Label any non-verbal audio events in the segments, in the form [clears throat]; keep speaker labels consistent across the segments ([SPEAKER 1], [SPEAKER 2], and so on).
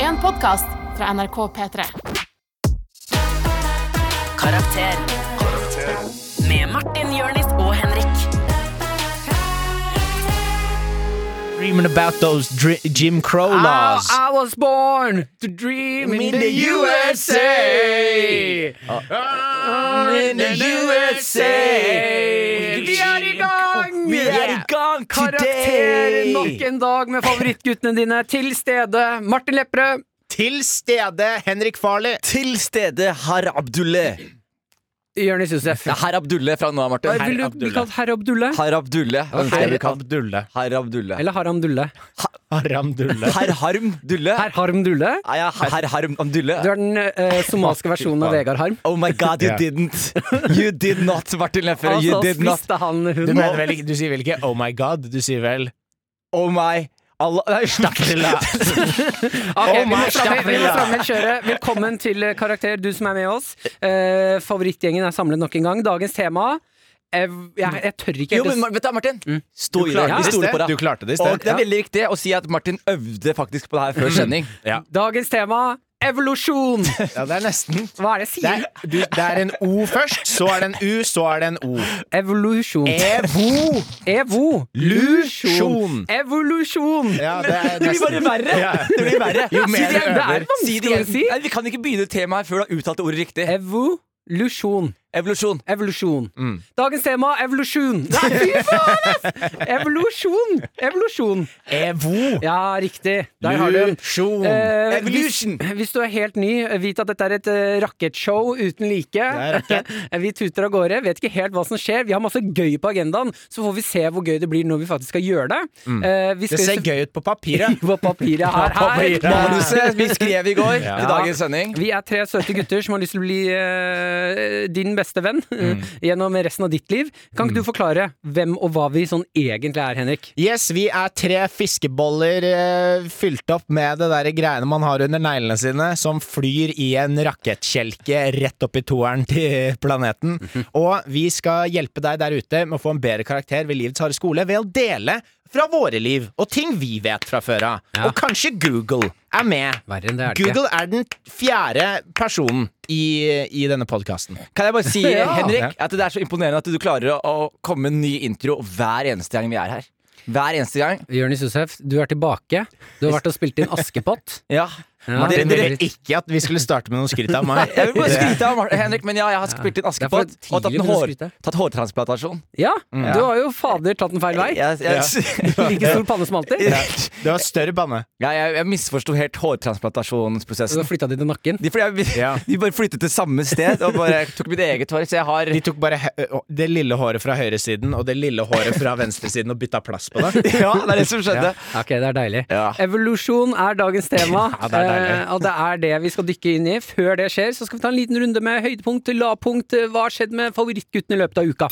[SPEAKER 1] en podkast fra NRK P3.
[SPEAKER 2] Karakter. Med Martin, Jørnis og Henrik.
[SPEAKER 3] Dreaming about those dri- Jim Crow
[SPEAKER 4] I,
[SPEAKER 3] laws.
[SPEAKER 4] Ah, I was born to dream in,
[SPEAKER 3] In
[SPEAKER 4] the
[SPEAKER 3] the
[SPEAKER 4] USA. I'm
[SPEAKER 3] in the USA.
[SPEAKER 4] Vi er i gang!
[SPEAKER 3] Vi er i gang
[SPEAKER 4] Karakter nok
[SPEAKER 3] today!
[SPEAKER 4] en dag med favorittguttene dine til stede. Martin Lepperød.
[SPEAKER 3] Til stede Henrik Farley.
[SPEAKER 5] Til stede herr Abdulle.
[SPEAKER 4] Jonis Josef.
[SPEAKER 5] Det er herr Abdulle fra nå av, Martin.
[SPEAKER 4] Vil du bli kalt herr Abdulle?
[SPEAKER 5] Herr Abdulle. ønsker jeg å bli kalt.
[SPEAKER 3] Abdulle.
[SPEAKER 5] Herr Abdulle.
[SPEAKER 4] Eller Haram Dulle?
[SPEAKER 3] Haram Dulle.
[SPEAKER 5] Herr Harm Dulle. Ah,
[SPEAKER 4] Herr Harm Dulle?
[SPEAKER 5] Er jeg herr Harm Dulle?
[SPEAKER 4] Du er den eh, somaliske versjonen av Vegard Harm.
[SPEAKER 5] Oh my god, you
[SPEAKER 3] Ja.
[SPEAKER 5] didn't. You did not, Martin Leffer. You
[SPEAKER 4] Altså,
[SPEAKER 5] did not.
[SPEAKER 4] spiste han
[SPEAKER 3] Du,
[SPEAKER 4] hund?
[SPEAKER 3] mener vel, ikke- du sier vel ikke 'oh my god'? Du sier vel
[SPEAKER 5] Oh my Allah Nei, [laughs]
[SPEAKER 4] Ok,
[SPEAKER 3] Oh
[SPEAKER 4] vi må
[SPEAKER 3] my
[SPEAKER 4] fram- vi må
[SPEAKER 3] God.
[SPEAKER 4] fram med kjøret. Velkommen til eh, Karakter, du som er med oss. Eh, favorittgjengen er samlet nok en gang. Dagens tema ev- Jeg, jeg tør ikke
[SPEAKER 5] Jo,
[SPEAKER 4] helt
[SPEAKER 5] men
[SPEAKER 4] å
[SPEAKER 5] Mar- vet du, hva, Martin. Stå Mm. i
[SPEAKER 3] Du klarte det
[SPEAKER 5] det. Vi
[SPEAKER 3] i
[SPEAKER 5] stoler
[SPEAKER 3] sted.
[SPEAKER 5] på
[SPEAKER 3] Du
[SPEAKER 5] deg.
[SPEAKER 3] klarte det i
[SPEAKER 5] Og
[SPEAKER 3] sted.
[SPEAKER 5] det er veldig viktig å si at Martin øvde faktisk på det her før sending.
[SPEAKER 3] Ja.
[SPEAKER 4] s- Dagens tema evolusjon!
[SPEAKER 3] ja, det er nesten.
[SPEAKER 4] Hva er det jeg
[SPEAKER 3] Det
[SPEAKER 4] sier?
[SPEAKER 3] er, du, det er en O først, så er det en U, så er det en O.
[SPEAKER 4] Evolusjon.
[SPEAKER 3] Evo!
[SPEAKER 4] Evolusjon. Evolusjon!
[SPEAKER 3] Ja, det, er
[SPEAKER 5] Det blir bare
[SPEAKER 3] nesten.
[SPEAKER 5] verre!
[SPEAKER 3] Ja.
[SPEAKER 5] Det blir verre.
[SPEAKER 3] Jo mer
[SPEAKER 4] det er-
[SPEAKER 3] du
[SPEAKER 4] det er
[SPEAKER 3] øver
[SPEAKER 4] vanskelig
[SPEAKER 5] Si det igjen.
[SPEAKER 4] å si.
[SPEAKER 5] Nei, vi kan ikke begynne temaet her før du har uttalt ordet riktig.
[SPEAKER 4] Evolusjon.
[SPEAKER 5] Evolusjon.
[SPEAKER 4] Evolusjon.
[SPEAKER 3] Mm.
[SPEAKER 4] Dagens tema evolusjon. Nei, fy faen, ass! Evolusjon! Evolusjon.
[SPEAKER 3] Evo!
[SPEAKER 4] Ja, riktig. Der har du den.
[SPEAKER 3] Lusjon.
[SPEAKER 4] Eh,
[SPEAKER 5] Evolution.
[SPEAKER 4] Hvis, hvis du er helt ny, vit at dette er et eh, rakettshow uten like. Eh,
[SPEAKER 3] er
[SPEAKER 4] [laughs] vi tuter av gårde, vet ikke helt hva som skjer. Vi har masse gøy på agendaen, så får vi se hvor gøy det blir når vi faktisk skal gjøre det. Eh, vi
[SPEAKER 3] Mm. Det
[SPEAKER 4] skal jo
[SPEAKER 3] ser
[SPEAKER 4] se-
[SPEAKER 3] gøy ut på papiret.
[SPEAKER 4] [laughs] På
[SPEAKER 3] [laughs]
[SPEAKER 4] papiret her.
[SPEAKER 3] papiret.
[SPEAKER 4] her.
[SPEAKER 5] Manuset vi skrev
[SPEAKER 4] [laughs]
[SPEAKER 5] i går
[SPEAKER 3] Ja.
[SPEAKER 5] til dagens sending.
[SPEAKER 4] Vi er tre søte gutter som har lyst til å bli eh, din beste venn [laughs] eh,
[SPEAKER 3] Mm.
[SPEAKER 4] gjennom resten av ditt liv. Kan ikke du forklare hvem og hva vi sånn egentlig er, Henrik?
[SPEAKER 3] Yes, vi er tre fiskeboller eh, fylt opp med det der greiene man har under neglene sine, som flyr i en rakettkjelke rett opp i toeren til
[SPEAKER 4] [laughs]
[SPEAKER 3] planeten. Og vi skal hjelpe deg der ute med å få en bedre karakter ved livets harde skole ved å dele fra våre liv og ting vi vet fra før av. Og kanskje Google er med.
[SPEAKER 4] Verre enn det er det ikke.
[SPEAKER 3] Google er den fjerde personen i, i denne podkasten.
[SPEAKER 5] Kan jeg bare si,
[SPEAKER 4] Ja.
[SPEAKER 5] Henrik, at det er så imponerende at du klarer å, å komme med en ny intro hver eneste gang vi er her. Hver eneste gang.
[SPEAKER 4] Jonis Josef, du er tilbake. Du har vært og spilt [laughs] inn Askepott.
[SPEAKER 5] Ja.
[SPEAKER 3] Dere
[SPEAKER 4] det er
[SPEAKER 3] ville
[SPEAKER 4] veldig-
[SPEAKER 3] ikke at vi skulle starte med noe skryt av
[SPEAKER 4] [laughs]
[SPEAKER 3] meg.
[SPEAKER 5] Jeg vil bare skryte av Mar- Henrik, men ja, jeg har spilt inn
[SPEAKER 4] Ja, det er for
[SPEAKER 5] Askepott og tatt,
[SPEAKER 4] tidlig
[SPEAKER 5] en
[SPEAKER 4] å
[SPEAKER 5] hår,
[SPEAKER 4] skryte.
[SPEAKER 5] tatt hårtransplantasjon.
[SPEAKER 4] Ja,
[SPEAKER 3] Mm.
[SPEAKER 4] du har jo fader tatt den feil vei.
[SPEAKER 5] Jeg, jeg,
[SPEAKER 4] Like stor panne som
[SPEAKER 5] [laughs]
[SPEAKER 4] alltid.
[SPEAKER 3] Det var større banne.
[SPEAKER 5] ja, jeg, jeg misforsto helt
[SPEAKER 4] Du har
[SPEAKER 5] hårtransplantasjonsprosessen.
[SPEAKER 4] flytta det til nakken.
[SPEAKER 5] De, fordi jeg,
[SPEAKER 3] Ja.
[SPEAKER 5] [laughs] de bare flyttet til samme sted og bare tok mitt eget hår. Så jeg
[SPEAKER 4] [laughs]
[SPEAKER 5] har
[SPEAKER 3] De tok bare hø- å, det lille håret fra høyresiden og det lille håret fra venstresiden og bytta plass på det.
[SPEAKER 5] [laughs] Ja, det er det som skjedde.
[SPEAKER 4] Ok, det er deilig.
[SPEAKER 5] Ja.
[SPEAKER 4] Evolusjon er dagens tema,
[SPEAKER 3] [laughs] Ja, det er deilig.
[SPEAKER 4] eh, og det er det vi skal dykke inn i. Før det skjer, så skal vi ta en liten runde med høydepunkt, lavpunkt, eh, hva har skjedd med favorittguttene i løpet av uka.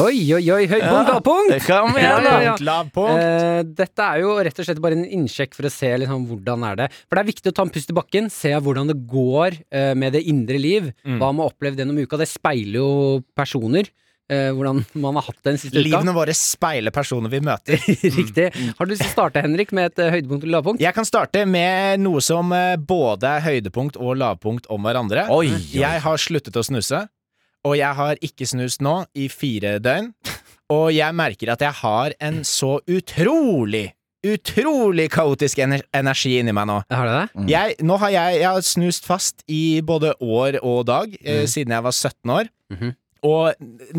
[SPEAKER 4] Oi, oi, oi, høydepunkt, lavpunkt!
[SPEAKER 5] Kom igjen, da.
[SPEAKER 4] Ja, ja.
[SPEAKER 3] Lavpunkt.
[SPEAKER 4] Eh, dette er jo rett og slett bare en innsjekk for å se liksom, hvordan er det For det er viktig å ta en pust i bakken, se hvordan det går eh, med det indre liv.
[SPEAKER 3] Mm.
[SPEAKER 4] Hva man har opplevd gjennom uka. Det speiler jo personer. eh, hvordan man har hatt den siste [laughs]
[SPEAKER 3] Livene våre speiler personer vi møter.
[SPEAKER 4] uka. Riktig.
[SPEAKER 3] Mm.
[SPEAKER 4] Har du lyst til å starte, Henrik, med et eh, høydepunkt eller lavpunkt?
[SPEAKER 3] Jeg kan starte med noe som eh, både er høydepunkt og lavpunkt om hverandre.
[SPEAKER 5] Oi, oi.
[SPEAKER 3] Jeg har sluttet å snuse, og jeg har ikke snust nå i fire døgn. Og jeg merker at jeg har en så utrolig, utrolig kaotisk ener energi inni meg nå.
[SPEAKER 4] Har du det?
[SPEAKER 3] Jeg, nå har jeg, jeg har snust fast i både år og dag eh, siden jeg var 17 år.
[SPEAKER 4] Mhm.
[SPEAKER 3] Og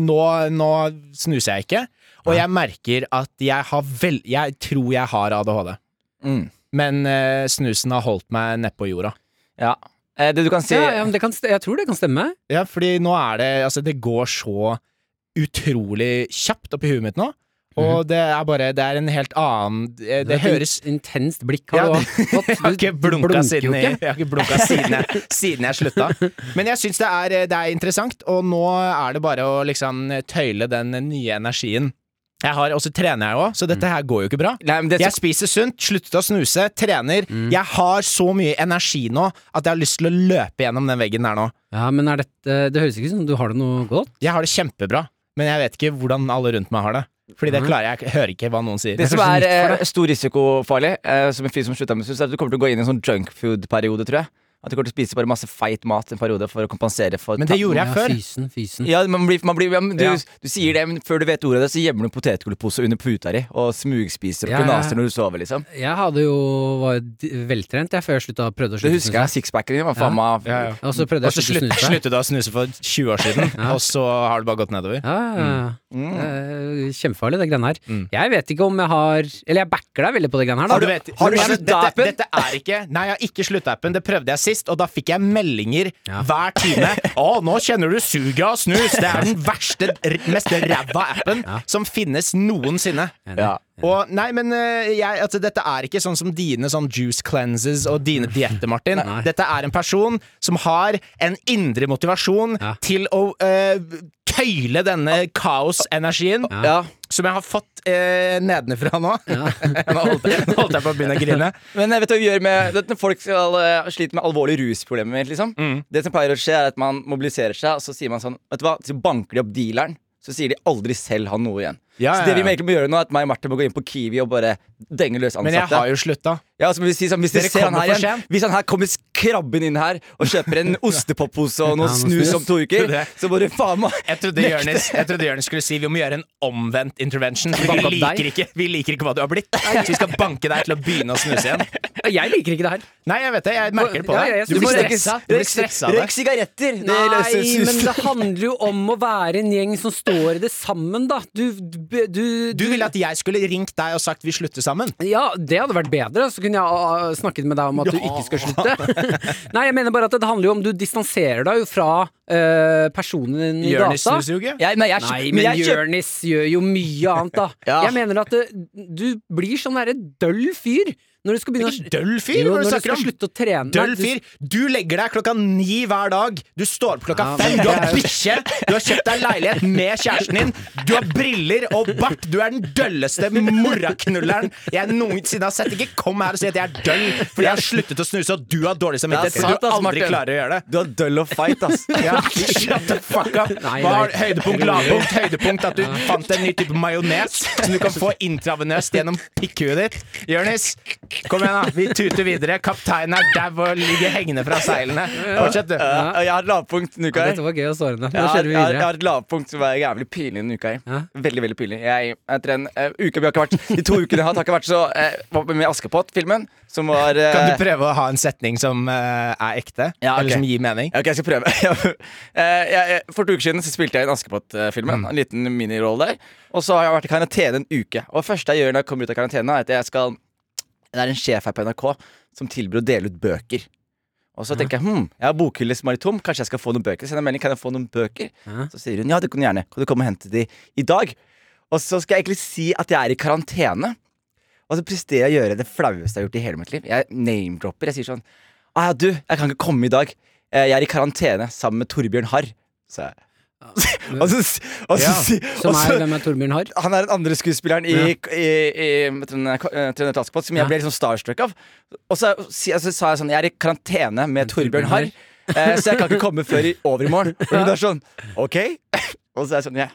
[SPEAKER 3] nå, nå snuser jeg ikke. Og jeg merker at jeg har vel... Jeg tror jeg har ADHD.
[SPEAKER 5] Mm.
[SPEAKER 3] Men eh, snusen har holdt meg nedpå jorda.
[SPEAKER 5] Ja. Eh, Det du kan si
[SPEAKER 4] Ja, ja, men det kan, st- jeg tror det kan stemme.
[SPEAKER 3] Ja, fordi nå er det Altså, det går så utrolig kjapt oppi huet mitt nå. Og det er bare Det er en helt annen eh, Det, Mhm. det
[SPEAKER 4] er et
[SPEAKER 3] høres
[SPEAKER 4] in- Intenst blikk har
[SPEAKER 3] Ja,
[SPEAKER 4] du
[SPEAKER 3] [laughs]
[SPEAKER 4] fått.
[SPEAKER 3] Jeg har ikke blunka, siden, jeg,
[SPEAKER 4] ikke.
[SPEAKER 3] jeg har ikke blunka siden, jeg, siden jeg slutta. Men jeg syns det, er- eh, det er interessant, og nå er det bare å liksom tøyle den nye energien. Jeg har, Og så trener jeg òg, så dette
[SPEAKER 5] Mm.
[SPEAKER 3] her går jo ikke bra.
[SPEAKER 5] Nei, men det,
[SPEAKER 3] Jeg spiser sunt, sluttet å snuse, trener.
[SPEAKER 5] Mm.
[SPEAKER 3] Jeg har så mye energi nå at jeg har lyst til å løpe gjennom den veggen der nå.
[SPEAKER 4] Ja, men er dette Det høres ikke ut som du har det noe godt.
[SPEAKER 3] Jeg har det kjempebra, men jeg vet ikke hvordan alle rundt meg har det. Fordi det klarer jeg, jeg hører ikke hva noen sier.
[SPEAKER 5] Mm. Det som
[SPEAKER 4] er så
[SPEAKER 5] er
[SPEAKER 4] likt for
[SPEAKER 5] eh, stor risikofarlig, eh, som en fyr som slutta med snus, er at du kommer til å gå inn i en sånn junkfood-periode, tror jeg. At du kommer til å spise bare masse feit mat en periode for å kompensere for
[SPEAKER 3] Men det gjorde jeg
[SPEAKER 4] Ja,
[SPEAKER 3] før.
[SPEAKER 4] Fysen, fysen.
[SPEAKER 5] ja, man blir, man blir, ja, men du,
[SPEAKER 4] Ja.
[SPEAKER 5] du sier det, men før du vet ordet av det, så gjemmer du potetgullpose under puta di og smugspiser og
[SPEAKER 4] Ja, ja, ja.
[SPEAKER 5] knaser når du sover, liksom.
[SPEAKER 4] Jeg hadde jo, var jo d- veltrent jeg, før jeg slutta prøvde å
[SPEAKER 5] Det
[SPEAKER 4] slutte
[SPEAKER 5] husker jeg. Sixpacken din var faen meg
[SPEAKER 3] Ja, ja.
[SPEAKER 4] Og så prøvde
[SPEAKER 3] Og
[SPEAKER 4] jeg
[SPEAKER 3] så
[SPEAKER 4] å slutte
[SPEAKER 3] slutt,
[SPEAKER 4] å snuse.
[SPEAKER 3] sluttet du å snuse for 20 år siden,
[SPEAKER 5] [laughs]
[SPEAKER 3] og så har det bare gått nedover.
[SPEAKER 4] Ja, ja, ja.
[SPEAKER 5] Mm.
[SPEAKER 4] Det er Kjempefarlig, det greiene her. Jeg vet ikke om jeg har Eller jeg backer deg veldig på det greiene her. Da.
[SPEAKER 5] Har du- har du
[SPEAKER 3] Men
[SPEAKER 5] sluttet
[SPEAKER 3] dette-
[SPEAKER 5] appen?
[SPEAKER 3] Dette er ikke Nei, jeg har ikke sluttet appen. Det prøvde jeg sist, og da fikk jeg meldinger
[SPEAKER 4] Ja.
[SPEAKER 3] hver
[SPEAKER 5] [laughs]
[SPEAKER 3] time. 'Å, nå kjenner du suget av snus!' Det er den verste, r- mest ræva appen som finnes noensinne.
[SPEAKER 4] Enig.
[SPEAKER 5] Ja.
[SPEAKER 3] Og nei, men eh, jeg, altså, dette er ikke sånn som dine sånn juice cleanses og dine dietter, Martin.
[SPEAKER 4] Nei.
[SPEAKER 3] Dette er en person som har en indre motivasjon
[SPEAKER 4] Ja.
[SPEAKER 3] til å eh, tøyle denne kaosenergien
[SPEAKER 5] Ja.
[SPEAKER 3] som jeg har fått eh, nedenfra nå. nå, [laughs] holdt jeg, nå holdt jeg på å begynne å grine.
[SPEAKER 5] Men jeg vet hva vi gjør med det, Når folk skal eh, slite med alvorlige rusproblemer, liksom.
[SPEAKER 3] Mm.
[SPEAKER 5] Det som pleier å skje, er at man mobiliserer seg, og så sier man sånn Vet du hva, så banker de opp dealeren. Så sier de aldri selv han noe igjen.
[SPEAKER 3] Ja,
[SPEAKER 5] Så
[SPEAKER 3] ja,
[SPEAKER 5] det vi
[SPEAKER 3] ja.
[SPEAKER 5] egentlig må gjøre nå, er at meg og Martin må gå inn på Kiwi og bare denge løs
[SPEAKER 3] Men jeg
[SPEAKER 5] ansatte.
[SPEAKER 3] har jo slutta.
[SPEAKER 5] Ja, altså, hvis, hvis, hvis,
[SPEAKER 3] Dere
[SPEAKER 5] dere ser han
[SPEAKER 3] kommer
[SPEAKER 5] her
[SPEAKER 3] for
[SPEAKER 5] igjen,
[SPEAKER 3] sent.
[SPEAKER 5] hvis han her kommer krabben inn her og kjøper
[SPEAKER 3] [laughs]
[SPEAKER 5] en ostepoppose og noe
[SPEAKER 4] Ja, noe
[SPEAKER 5] snus
[SPEAKER 4] snus.
[SPEAKER 5] om to uker,
[SPEAKER 3] Det-
[SPEAKER 5] så bare faen meg
[SPEAKER 3] Jeg trodde, Jørnis, jeg trodde Jørnis skulle si vi må gjøre en omvendt intervention. Vi
[SPEAKER 4] Banke opp
[SPEAKER 3] liker,
[SPEAKER 4] deg?
[SPEAKER 3] ikke, vi liker ikke hva du har blitt, så vi skal banke deg til å begynne å snuse igjen.
[SPEAKER 4] Jeg liker ikke det her.
[SPEAKER 3] Nei, jeg vet det. Jeg merker det på
[SPEAKER 4] Ja,
[SPEAKER 3] deg.
[SPEAKER 4] ja, jeg
[SPEAKER 3] du blir
[SPEAKER 4] synes det.
[SPEAKER 3] stressa. Du blir stressa av det.
[SPEAKER 5] Røyk sigaretter! Det
[SPEAKER 4] Nei,
[SPEAKER 5] løser
[SPEAKER 4] men det
[SPEAKER 5] snus.
[SPEAKER 4] handler jo om å være en gjeng som står i det sammen, da. Du, du, du,
[SPEAKER 3] Du ville at jeg skulle ringt deg og sagt vi slutter sammen.
[SPEAKER 4] Ja, det hadde vært bedre. Så kunne jeg ah, snakket med deg om at du ikke skal slutte. [laughs] Nei, jeg mener bare at det handler jo om du distanserer deg jo fra eh, personen i
[SPEAKER 3] Jonis
[SPEAKER 4] gata.
[SPEAKER 3] snuser jo ikke.
[SPEAKER 5] Jeg, nei, jeg,
[SPEAKER 4] Nei,
[SPEAKER 5] kjøp-
[SPEAKER 4] men
[SPEAKER 5] jeg kjøp-
[SPEAKER 4] Jonis gjør jo mye annet,
[SPEAKER 3] [laughs]
[SPEAKER 4] da.
[SPEAKER 5] Ja.
[SPEAKER 4] Jeg mener at du, du blir sånn derre døll fyr når du skal begynne å
[SPEAKER 3] Ikke døll fyr,
[SPEAKER 4] Jo,
[SPEAKER 3] hva er det du
[SPEAKER 4] når du
[SPEAKER 3] snakker
[SPEAKER 4] skal
[SPEAKER 3] om?
[SPEAKER 4] slutte å trene. Nei,
[SPEAKER 3] Døll
[SPEAKER 4] du-
[SPEAKER 3] fyr! Du legger deg klokka ni hver dag. Du står opp klokka
[SPEAKER 4] Ja,
[SPEAKER 3] fem.
[SPEAKER 4] men
[SPEAKER 3] Du har
[SPEAKER 4] det er jo-
[SPEAKER 3] bikkje, du har kjøpt deg leilighet med kjæresten din, du har briller og bart. Du er den dølleste moraknulleren jeg noensinne har sett. Ikke kom her og si at jeg er døll fordi jeg har sluttet å snuse, og du har dårlig samvittighet
[SPEAKER 5] Det er sant,
[SPEAKER 3] fordi du
[SPEAKER 5] ass,
[SPEAKER 3] aldri
[SPEAKER 5] Martin.
[SPEAKER 3] klarer å gjøre det.
[SPEAKER 5] Du har døll og fight, ass.
[SPEAKER 3] [laughs] Ja,
[SPEAKER 5] [laughs]
[SPEAKER 3] shut the fuck up.
[SPEAKER 4] [laughs] Nei,
[SPEAKER 3] Hva har
[SPEAKER 4] nei.
[SPEAKER 3] høydepunkt, lavpunkt, høydepunkt at du fant en ny type majones som du kan få intravenøst gjennom pikkhuet ditt? Jonis, kom igjen, da. Vi tuter videre. Kapteinen er dau og ligger hengende fra seilene. Fortsett, du.
[SPEAKER 5] Ja, jeg har et lavpunkt denne uka.
[SPEAKER 4] Ja,
[SPEAKER 5] her.
[SPEAKER 4] Dette var gøy og sårende. Nå
[SPEAKER 5] Jeg har,
[SPEAKER 4] kjører vi
[SPEAKER 5] jeg, har, jeg
[SPEAKER 4] videre.
[SPEAKER 5] har et lavpunkt som er jævlig pinlig denne uka. her.
[SPEAKER 4] Ja.
[SPEAKER 5] Veldig, veldig pinlig. Jeg, etter en eh, uke vi har ikke vært De to ukene jeg har hatt, har ikke vært så eh, var Med Askepott-filmen, som var eh,
[SPEAKER 3] Kan du prøve å ha en setning som eh, er ekte?
[SPEAKER 5] Ja, ok.
[SPEAKER 3] Eller som gir mening?
[SPEAKER 5] Ja, Ok, jeg skal prøve. [laughs] Eh, jeg, jeg, for to uker siden så spilte jeg i en
[SPEAKER 4] Mm.
[SPEAKER 5] Askepott-filmen. En liten minirolle der. Og så har jeg vært i karantene en uke. Og det første jeg gjør når jeg kommer ut av karantene, er at jeg skal Det er en sjef her på NRK som tilbyr å dele ut bøker. Og så tenker jeg hm, jeg har bokhylle som er litt tom, kanskje jeg skal få noen bøker. Så sender jeg melding, kan jeg få noen bøker?
[SPEAKER 4] Ja.
[SPEAKER 5] Så sier hun ja, det kan du gjerne. Kan du komme og hente de i dag? Og så skal jeg egentlig si at jeg er i karantene. Og så presterer jeg å gjøre det flaueste jeg har gjort i hele mitt liv. Jeg name-dropper. Jeg sier sånn ah, ja, du, jeg kan ikke komme i dag. Eh, Jeg er i karantene sammen med Torbjørn Harr. Så jeg. [laughs] Og så, og så,
[SPEAKER 3] Ja,
[SPEAKER 5] si- og
[SPEAKER 4] Som
[SPEAKER 3] Altså-
[SPEAKER 5] så,
[SPEAKER 4] er hvem er Torbjørn
[SPEAKER 3] [laughs]
[SPEAKER 4] Harr?
[SPEAKER 5] han er den andre skuespilleren i,
[SPEAKER 4] Ja.
[SPEAKER 5] i, i, i Trønder Trønder Askepott som jeg
[SPEAKER 4] Ja.
[SPEAKER 5] ble liksom starstruck av. Og så, si- så sa jeg sånn Jeg er i karantene med
[SPEAKER 4] Torbjørn
[SPEAKER 5] Torbjørn Harr, eh, så jeg kan ikke komme
[SPEAKER 4] [laughs]
[SPEAKER 5] før i overmorgen. Og hun er sånn OK? [laughs] Og så er jeg sånn Ja.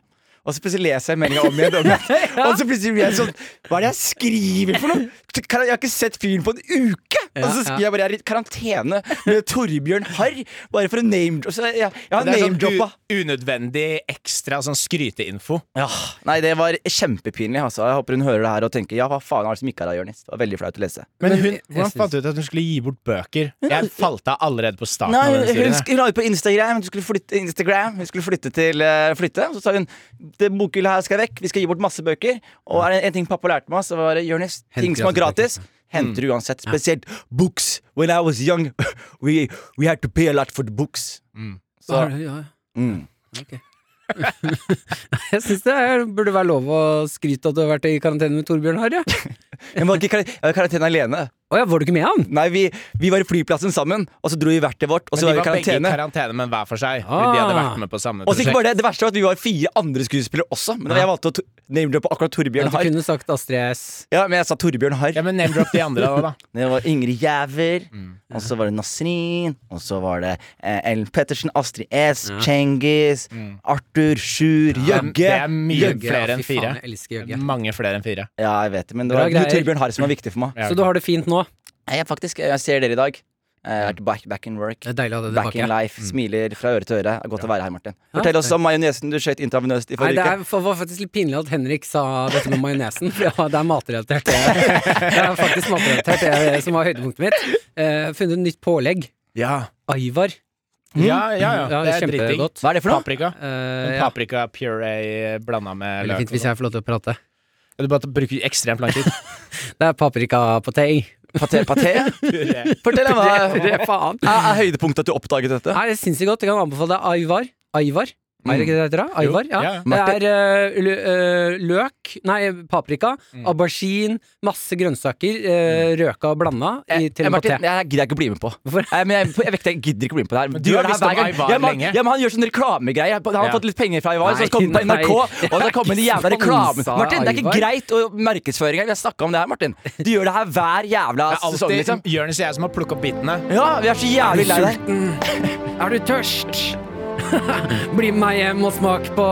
[SPEAKER 5] Og så plutselig leser jeg meldinga om igjen.
[SPEAKER 4] [laughs]
[SPEAKER 5] Om igjen. Og så plutselig blir jeg sånn Hva er det jeg skriver for noe?! Kan Jeg jeg har ikke sett fyren på en uke! og så
[SPEAKER 4] Ja, ja.
[SPEAKER 5] skriver jeg bare Jeg er i karantene med Torbjørn Harr, bare for å name droppe. Så jeg, jeg, jeg har
[SPEAKER 3] Det er sånn
[SPEAKER 5] name-droppa.
[SPEAKER 3] u- unødvendig ekstra sånn skryteinfo.
[SPEAKER 5] Ja, Nei, det var kjempepinlig. Altså. Jeg håper hun hører det her og tenker ja, hva faen er det som ikke er av Jonis? Det var veldig flaut å lese.
[SPEAKER 3] Men
[SPEAKER 4] Men
[SPEAKER 3] hun,
[SPEAKER 4] jeg- jeg
[SPEAKER 3] hvordan
[SPEAKER 4] synes-
[SPEAKER 3] fant du ut at hun skulle gi bort bøker? Jeg falt av allerede på starten.
[SPEAKER 5] Nei,
[SPEAKER 3] av
[SPEAKER 5] hun,
[SPEAKER 3] denne
[SPEAKER 5] hun,
[SPEAKER 3] historien.
[SPEAKER 5] sk- hun la ut på Instagram. Hun skulle flytte, Instagram. Hun skulle flytte til eh, flytte. Så sa hun det bokhylla her skal vekk. Vi skal gi bort masse bøker. Og er det en ting pappa lærte meg, så var det Jonis.
[SPEAKER 4] Hent
[SPEAKER 5] Ting som er
[SPEAKER 4] gratis
[SPEAKER 5] gratis.
[SPEAKER 3] Mm.
[SPEAKER 5] Henter du uansett. Spesielt books. When I was young, [laughs] we, we had to pay a lot for the books. Så,
[SPEAKER 3] Altså-
[SPEAKER 4] Ja, ja,
[SPEAKER 5] mm.
[SPEAKER 4] ok. jeg syns det er,
[SPEAKER 3] [laughs]
[SPEAKER 4] burde være lov å skryte at du har vært i karantene med Torbjørn Harr, ja.
[SPEAKER 5] Jeg var ikke i kar- jeg var i karantene alene.
[SPEAKER 4] Å ja, var du ikke med han?
[SPEAKER 5] Nei, vi, vi var i flyplassen sammen, og så dro vi hvert til vårt, og
[SPEAKER 3] Men
[SPEAKER 5] så
[SPEAKER 3] de
[SPEAKER 5] var vi i
[SPEAKER 3] var begge i
[SPEAKER 5] karantene.
[SPEAKER 3] karantene, men hver for seg.
[SPEAKER 4] Ah.
[SPEAKER 3] De hadde vært med på samme
[SPEAKER 5] Og så ikke
[SPEAKER 3] prosjekt.
[SPEAKER 5] bare det, det verste var at vi var fire andre skuespillere også, men jeg valgte å to- name-droppe akkurat
[SPEAKER 4] Ja,
[SPEAKER 5] Torbjørn
[SPEAKER 4] du
[SPEAKER 5] Harr.
[SPEAKER 4] kunne sagt Astrid S.
[SPEAKER 5] Ja, men jeg sa Torbjørn Harr.
[SPEAKER 3] Ja, men name-drop de andre da, da.
[SPEAKER 5] Det var Ingrid Jæver,
[SPEAKER 4] Mm.
[SPEAKER 5] og så var det Nasrin, og så var det eh, Ellen Pettersen, Astrid S,
[SPEAKER 4] Ja. Mm.
[SPEAKER 5] Cengiz, Arthur, Sjur,
[SPEAKER 3] Det
[SPEAKER 5] Jøgge.
[SPEAKER 3] er mye
[SPEAKER 4] Jøgge,
[SPEAKER 3] flere
[SPEAKER 4] ja,
[SPEAKER 3] enn
[SPEAKER 4] fy
[SPEAKER 3] fire.
[SPEAKER 4] faen, jeg elsker Jøgge.
[SPEAKER 3] Mange flere enn fire.
[SPEAKER 5] Ja, jeg vet det, men det
[SPEAKER 4] Bra
[SPEAKER 5] var det
[SPEAKER 4] greier.
[SPEAKER 5] var Torbjørn Harr som var viktig for meg.
[SPEAKER 3] Ja.
[SPEAKER 4] Så du har det fint nå?
[SPEAKER 5] Nei, Jeg, faktisk, jeg ser dere i dag. Jeg har vært back, back in work.
[SPEAKER 4] Det er deilig å ha det
[SPEAKER 5] Back
[SPEAKER 4] tilbake.
[SPEAKER 5] in
[SPEAKER 4] Mm.
[SPEAKER 5] life. Smiler fra øre til øre. Godt å være her, Martin.
[SPEAKER 4] Ja.
[SPEAKER 5] Fortell oss om majonesen du skjøt intravenøst i
[SPEAKER 4] Nei, det
[SPEAKER 5] forrige uke.
[SPEAKER 4] er, for- var faktisk litt pinlig at Henrik sa dette med majonesen, for ja, det er matrelatert. Det er, det er faktisk matrelatert, det er det som var høydepunktet mitt. Eh, funnet et nytt pålegg.
[SPEAKER 3] Ja,
[SPEAKER 4] Aivar.
[SPEAKER 3] ja, ja. Mm. ja. Det er dritting.
[SPEAKER 4] Kjempegodt.
[SPEAKER 5] Hva er det for noe?
[SPEAKER 3] Paprika.
[SPEAKER 4] Eh,
[SPEAKER 3] En
[SPEAKER 4] ja.
[SPEAKER 3] paprika puré blanda med
[SPEAKER 4] Veldig
[SPEAKER 3] løk.
[SPEAKER 4] fint hvis jeg får lov til å prate.
[SPEAKER 3] og sånn. Du bare bruker ekstremt
[SPEAKER 4] [laughs]
[SPEAKER 3] lang tid.
[SPEAKER 4] Det er paprikapatei.
[SPEAKER 5] Paté? paté?
[SPEAKER 4] [laughs]
[SPEAKER 3] Puré.
[SPEAKER 5] Fortell [laughs] om hva er,
[SPEAKER 4] Det er faen.
[SPEAKER 5] er høydepunktet at du oppdaget dette?
[SPEAKER 4] Nei, det er sinnssykt godt. Jeg kan anbefale deg Aivar. Aivar? Er det ikke det det heter? da?
[SPEAKER 3] Jo,
[SPEAKER 4] Aivar, ja.
[SPEAKER 3] ja, ja.
[SPEAKER 4] Det er eh, lø- eh, løk, nei, paprika, aubergine, masse grønnsaker, eh, røka og blanda i, til
[SPEAKER 5] Eh,
[SPEAKER 4] en
[SPEAKER 5] Martin,
[SPEAKER 4] paté.
[SPEAKER 5] jeg gidder ikke å bli med på.
[SPEAKER 4] Hvorfor?
[SPEAKER 5] Nei, men jeg, jeg, vekter, jeg gidder ikke å bli med på det her.
[SPEAKER 3] Men du har
[SPEAKER 5] gjør det her
[SPEAKER 3] visst om
[SPEAKER 5] hver gang.
[SPEAKER 3] Ivar
[SPEAKER 5] ja, men,
[SPEAKER 3] lenge.
[SPEAKER 5] ja, men Han gjør sånne reklamegreier. Han har
[SPEAKER 3] Ja.
[SPEAKER 5] fått litt penger fra Ivar, så
[SPEAKER 4] Nei,
[SPEAKER 5] han kommer på
[SPEAKER 4] nei,
[SPEAKER 5] NRK.
[SPEAKER 4] det
[SPEAKER 5] Og
[SPEAKER 4] er
[SPEAKER 5] så kommer de
[SPEAKER 4] ikke
[SPEAKER 5] jævla
[SPEAKER 4] sponsa
[SPEAKER 5] reklamene. Martin, det er
[SPEAKER 4] Ivar.
[SPEAKER 5] ikke greit å markedsføring her. Vi har snakka om det her, Martin. Du gjør det her hver jævla
[SPEAKER 3] Det er
[SPEAKER 4] Altså, sånn,
[SPEAKER 5] sesong,
[SPEAKER 3] alltid
[SPEAKER 5] liksom.
[SPEAKER 3] Jonis og jeg som har plukket opp bitene.
[SPEAKER 5] Ja, vi er så jævlig lei deg.
[SPEAKER 4] Er du tørst? [laughs] Bli med meg hjem og smak på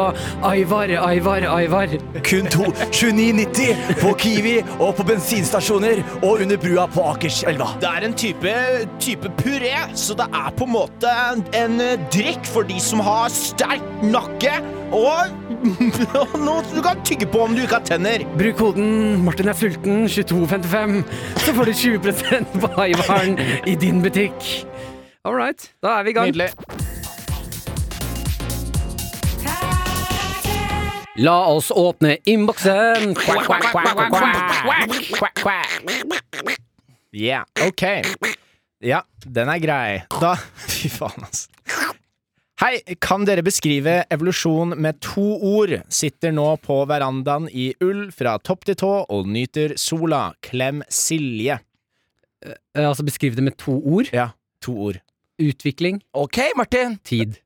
[SPEAKER 4] Aivar, Aivar, Aivar.
[SPEAKER 5] Kun to 29,90 på Kiwi og på bensinstasjoner og under brua på Akerselva.
[SPEAKER 3] Det er en type, type puré, så det er på en måte en, en eh, drikk for de som har sterk nakke og [laughs] og noe du kan tygge på om du ikke har tenner.
[SPEAKER 4] Bruk koden 'Martin er sulten' 2255, så får du 20 på Aivaren i din butikk. All right, da er vi i gang. La oss åpne innboksen.
[SPEAKER 3] Yeah, ok. Ja, den er grei. Da [laughs] Fy faen, altså. Hei, kan dere beskrive evolusjon med to ord? Sitter nå på verandaen i ull fra topp til tå og nyter sola. Klem Silje.
[SPEAKER 4] Eh, Altså beskriv det med to ord.
[SPEAKER 3] Ja, to ord.
[SPEAKER 4] Utvikling,
[SPEAKER 5] OK, Martin.
[SPEAKER 4] tid.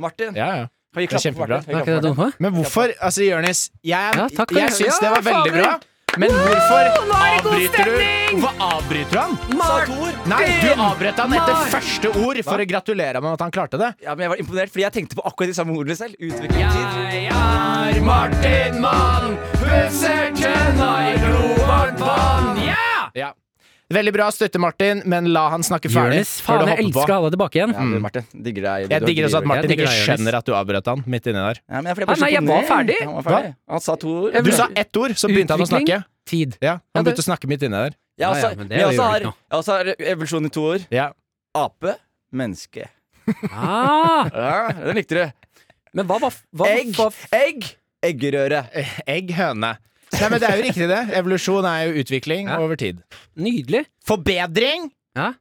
[SPEAKER 5] Martin.
[SPEAKER 3] Ja, ja.
[SPEAKER 5] Kan vi
[SPEAKER 3] Det er
[SPEAKER 5] klappe for
[SPEAKER 3] kjempebra.
[SPEAKER 5] Martin?
[SPEAKER 4] Er ikke det
[SPEAKER 5] Kan vi klappe for Martin?
[SPEAKER 4] dumme?
[SPEAKER 3] Men hvorfor Altså, Jonis, jeg,
[SPEAKER 4] Ja, takk for
[SPEAKER 3] jeg
[SPEAKER 4] det.
[SPEAKER 3] syns
[SPEAKER 4] Ja,
[SPEAKER 3] det var veldig
[SPEAKER 4] fader.
[SPEAKER 3] bra, men hvorfor
[SPEAKER 4] nå er det god
[SPEAKER 3] avbryter du
[SPEAKER 4] stemning!
[SPEAKER 3] Hvorfor avbryter du han?
[SPEAKER 5] Sa to ord.
[SPEAKER 3] Nei, du avbrøt han etter
[SPEAKER 4] Mark!
[SPEAKER 3] første ord for å gratulere med at han klarte det.
[SPEAKER 5] Ja, men Jeg var imponert, fordi jeg tenkte på akkurat de samme ordene selv. Utviklingstid.
[SPEAKER 4] Jeg er Martin Mann, pusser tenna i glovarmt vann. Ja!
[SPEAKER 3] Ja. Veldig bra støtte, Martin, men la han snakke ferdig.
[SPEAKER 4] Jonis, faen, jeg elsker å ha deg tilbake igjen.
[SPEAKER 5] Ja, du, Martin, digger deg.
[SPEAKER 3] Jeg digger også at Martin
[SPEAKER 4] digger
[SPEAKER 3] ikke
[SPEAKER 4] deg, Jonis.
[SPEAKER 3] skjønner at du avbrøt han midt inni der.
[SPEAKER 5] ja, men jeg, for
[SPEAKER 4] Nei, nei, jeg
[SPEAKER 5] ble så
[SPEAKER 4] var
[SPEAKER 5] imponert.
[SPEAKER 4] ferdig.
[SPEAKER 5] Han, var ferdig. han sa to ord.
[SPEAKER 3] Du sa ett ord, så begynte han å
[SPEAKER 4] Utvikling?
[SPEAKER 3] snakke.
[SPEAKER 4] Tid.
[SPEAKER 3] Ja,
[SPEAKER 4] Ja,
[SPEAKER 3] han
[SPEAKER 4] det-
[SPEAKER 3] begynte å snakke midt inni der.
[SPEAKER 5] Jeg også,
[SPEAKER 4] Ja, ja, men det
[SPEAKER 5] men
[SPEAKER 4] gjør
[SPEAKER 5] altså, jeg også
[SPEAKER 4] det
[SPEAKER 5] har,
[SPEAKER 4] ikke noe.
[SPEAKER 5] jeg også har evolusjon i to ord.
[SPEAKER 3] Ja.
[SPEAKER 5] Ape, menneske.
[SPEAKER 4] Ah,
[SPEAKER 5] Ja, Den likte du.
[SPEAKER 4] men hva var hva,
[SPEAKER 5] Egg,
[SPEAKER 4] hva-
[SPEAKER 5] egg, eggerøre.
[SPEAKER 3] Egg, høne. Nei, men Det er jo riktig, det. Evolusjon er jo utvikling
[SPEAKER 4] Ja.
[SPEAKER 3] over tid.
[SPEAKER 4] Nydelig.
[SPEAKER 3] Forbedring.
[SPEAKER 4] Ja.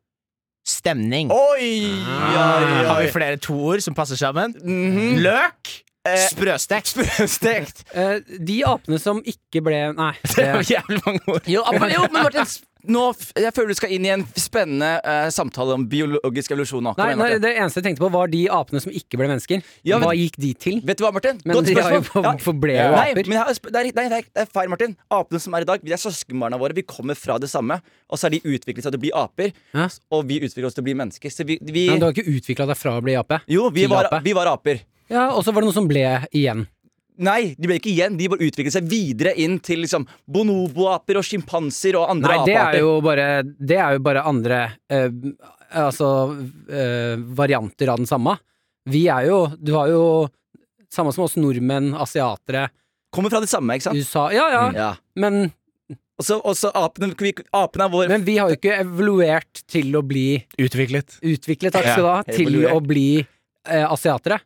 [SPEAKER 3] Stemning.
[SPEAKER 5] Oi, oi,
[SPEAKER 4] Ah.
[SPEAKER 3] Har
[SPEAKER 5] oi.
[SPEAKER 3] vi flere toord som passer sammen?
[SPEAKER 5] Mhm.
[SPEAKER 3] Løk!
[SPEAKER 5] Eh,
[SPEAKER 3] Sprøstekt.
[SPEAKER 5] Stekt.
[SPEAKER 4] [laughs] Eh, de apene som ikke ble
[SPEAKER 5] [laughs]
[SPEAKER 4] Nei.
[SPEAKER 3] Det var
[SPEAKER 4] Det,
[SPEAKER 3] jævlig mange ord.
[SPEAKER 5] Jo, men, jo, men Martin, s- nå, f- jeg føler du skal inn i en spennende eh, samtale om biologisk evolusjon. nå. Kom
[SPEAKER 4] nei,
[SPEAKER 5] igjen,
[SPEAKER 4] nei,
[SPEAKER 5] Martin.
[SPEAKER 4] det eneste jeg tenkte på, var de apene som ikke ble mennesker.
[SPEAKER 5] Ja, men-
[SPEAKER 4] Hva gikk de til?
[SPEAKER 5] Vet du hva, Martin?
[SPEAKER 4] Men
[SPEAKER 5] Godt
[SPEAKER 4] de har jo
[SPEAKER 5] spørsmål.
[SPEAKER 4] for- forble jo
[SPEAKER 5] Nei,
[SPEAKER 4] aper.
[SPEAKER 5] men jeg har sp- det, er, nei, det er- det er feil, Martin. Apene som er i dag, de er søskenbarna våre. Vi kommer fra det samme. Og så har de utviklet seg til å bli aper,
[SPEAKER 4] Ja.
[SPEAKER 5] og vi utvikler oss til å bli mennesker. Så vi, vi
[SPEAKER 4] Nei, du har ikke utvikla deg fra å bli ape?
[SPEAKER 5] Jo, vi
[SPEAKER 4] til
[SPEAKER 5] var,
[SPEAKER 4] ape.
[SPEAKER 5] vi var aper.
[SPEAKER 4] Ja, Og så var det noe som ble igjen.
[SPEAKER 5] Nei, de ble ikke igjen. De bare utviklet seg videre inn til liksom bonoboaper og sjimpanser og andre
[SPEAKER 4] Nei, det er
[SPEAKER 5] apearter.
[SPEAKER 4] jo bare, det er jo bare andre eh, Altså eh, varianter av den samme. Vi er jo Du har jo Samme som oss nordmenn, asiatere,
[SPEAKER 5] Kommer fra det samme, ikke sant?
[SPEAKER 4] USA Ja, ja,
[SPEAKER 5] Mm. Ja.
[SPEAKER 4] men,
[SPEAKER 5] Og så- Og så apene vi, Apene er vår
[SPEAKER 4] men vi har jo ikke evoluert til å bli
[SPEAKER 3] Utviklet.
[SPEAKER 4] utviklet, takk skal du ha,
[SPEAKER 5] Ja,
[SPEAKER 4] til
[SPEAKER 5] evoluert.
[SPEAKER 4] å bli eh, asiatere.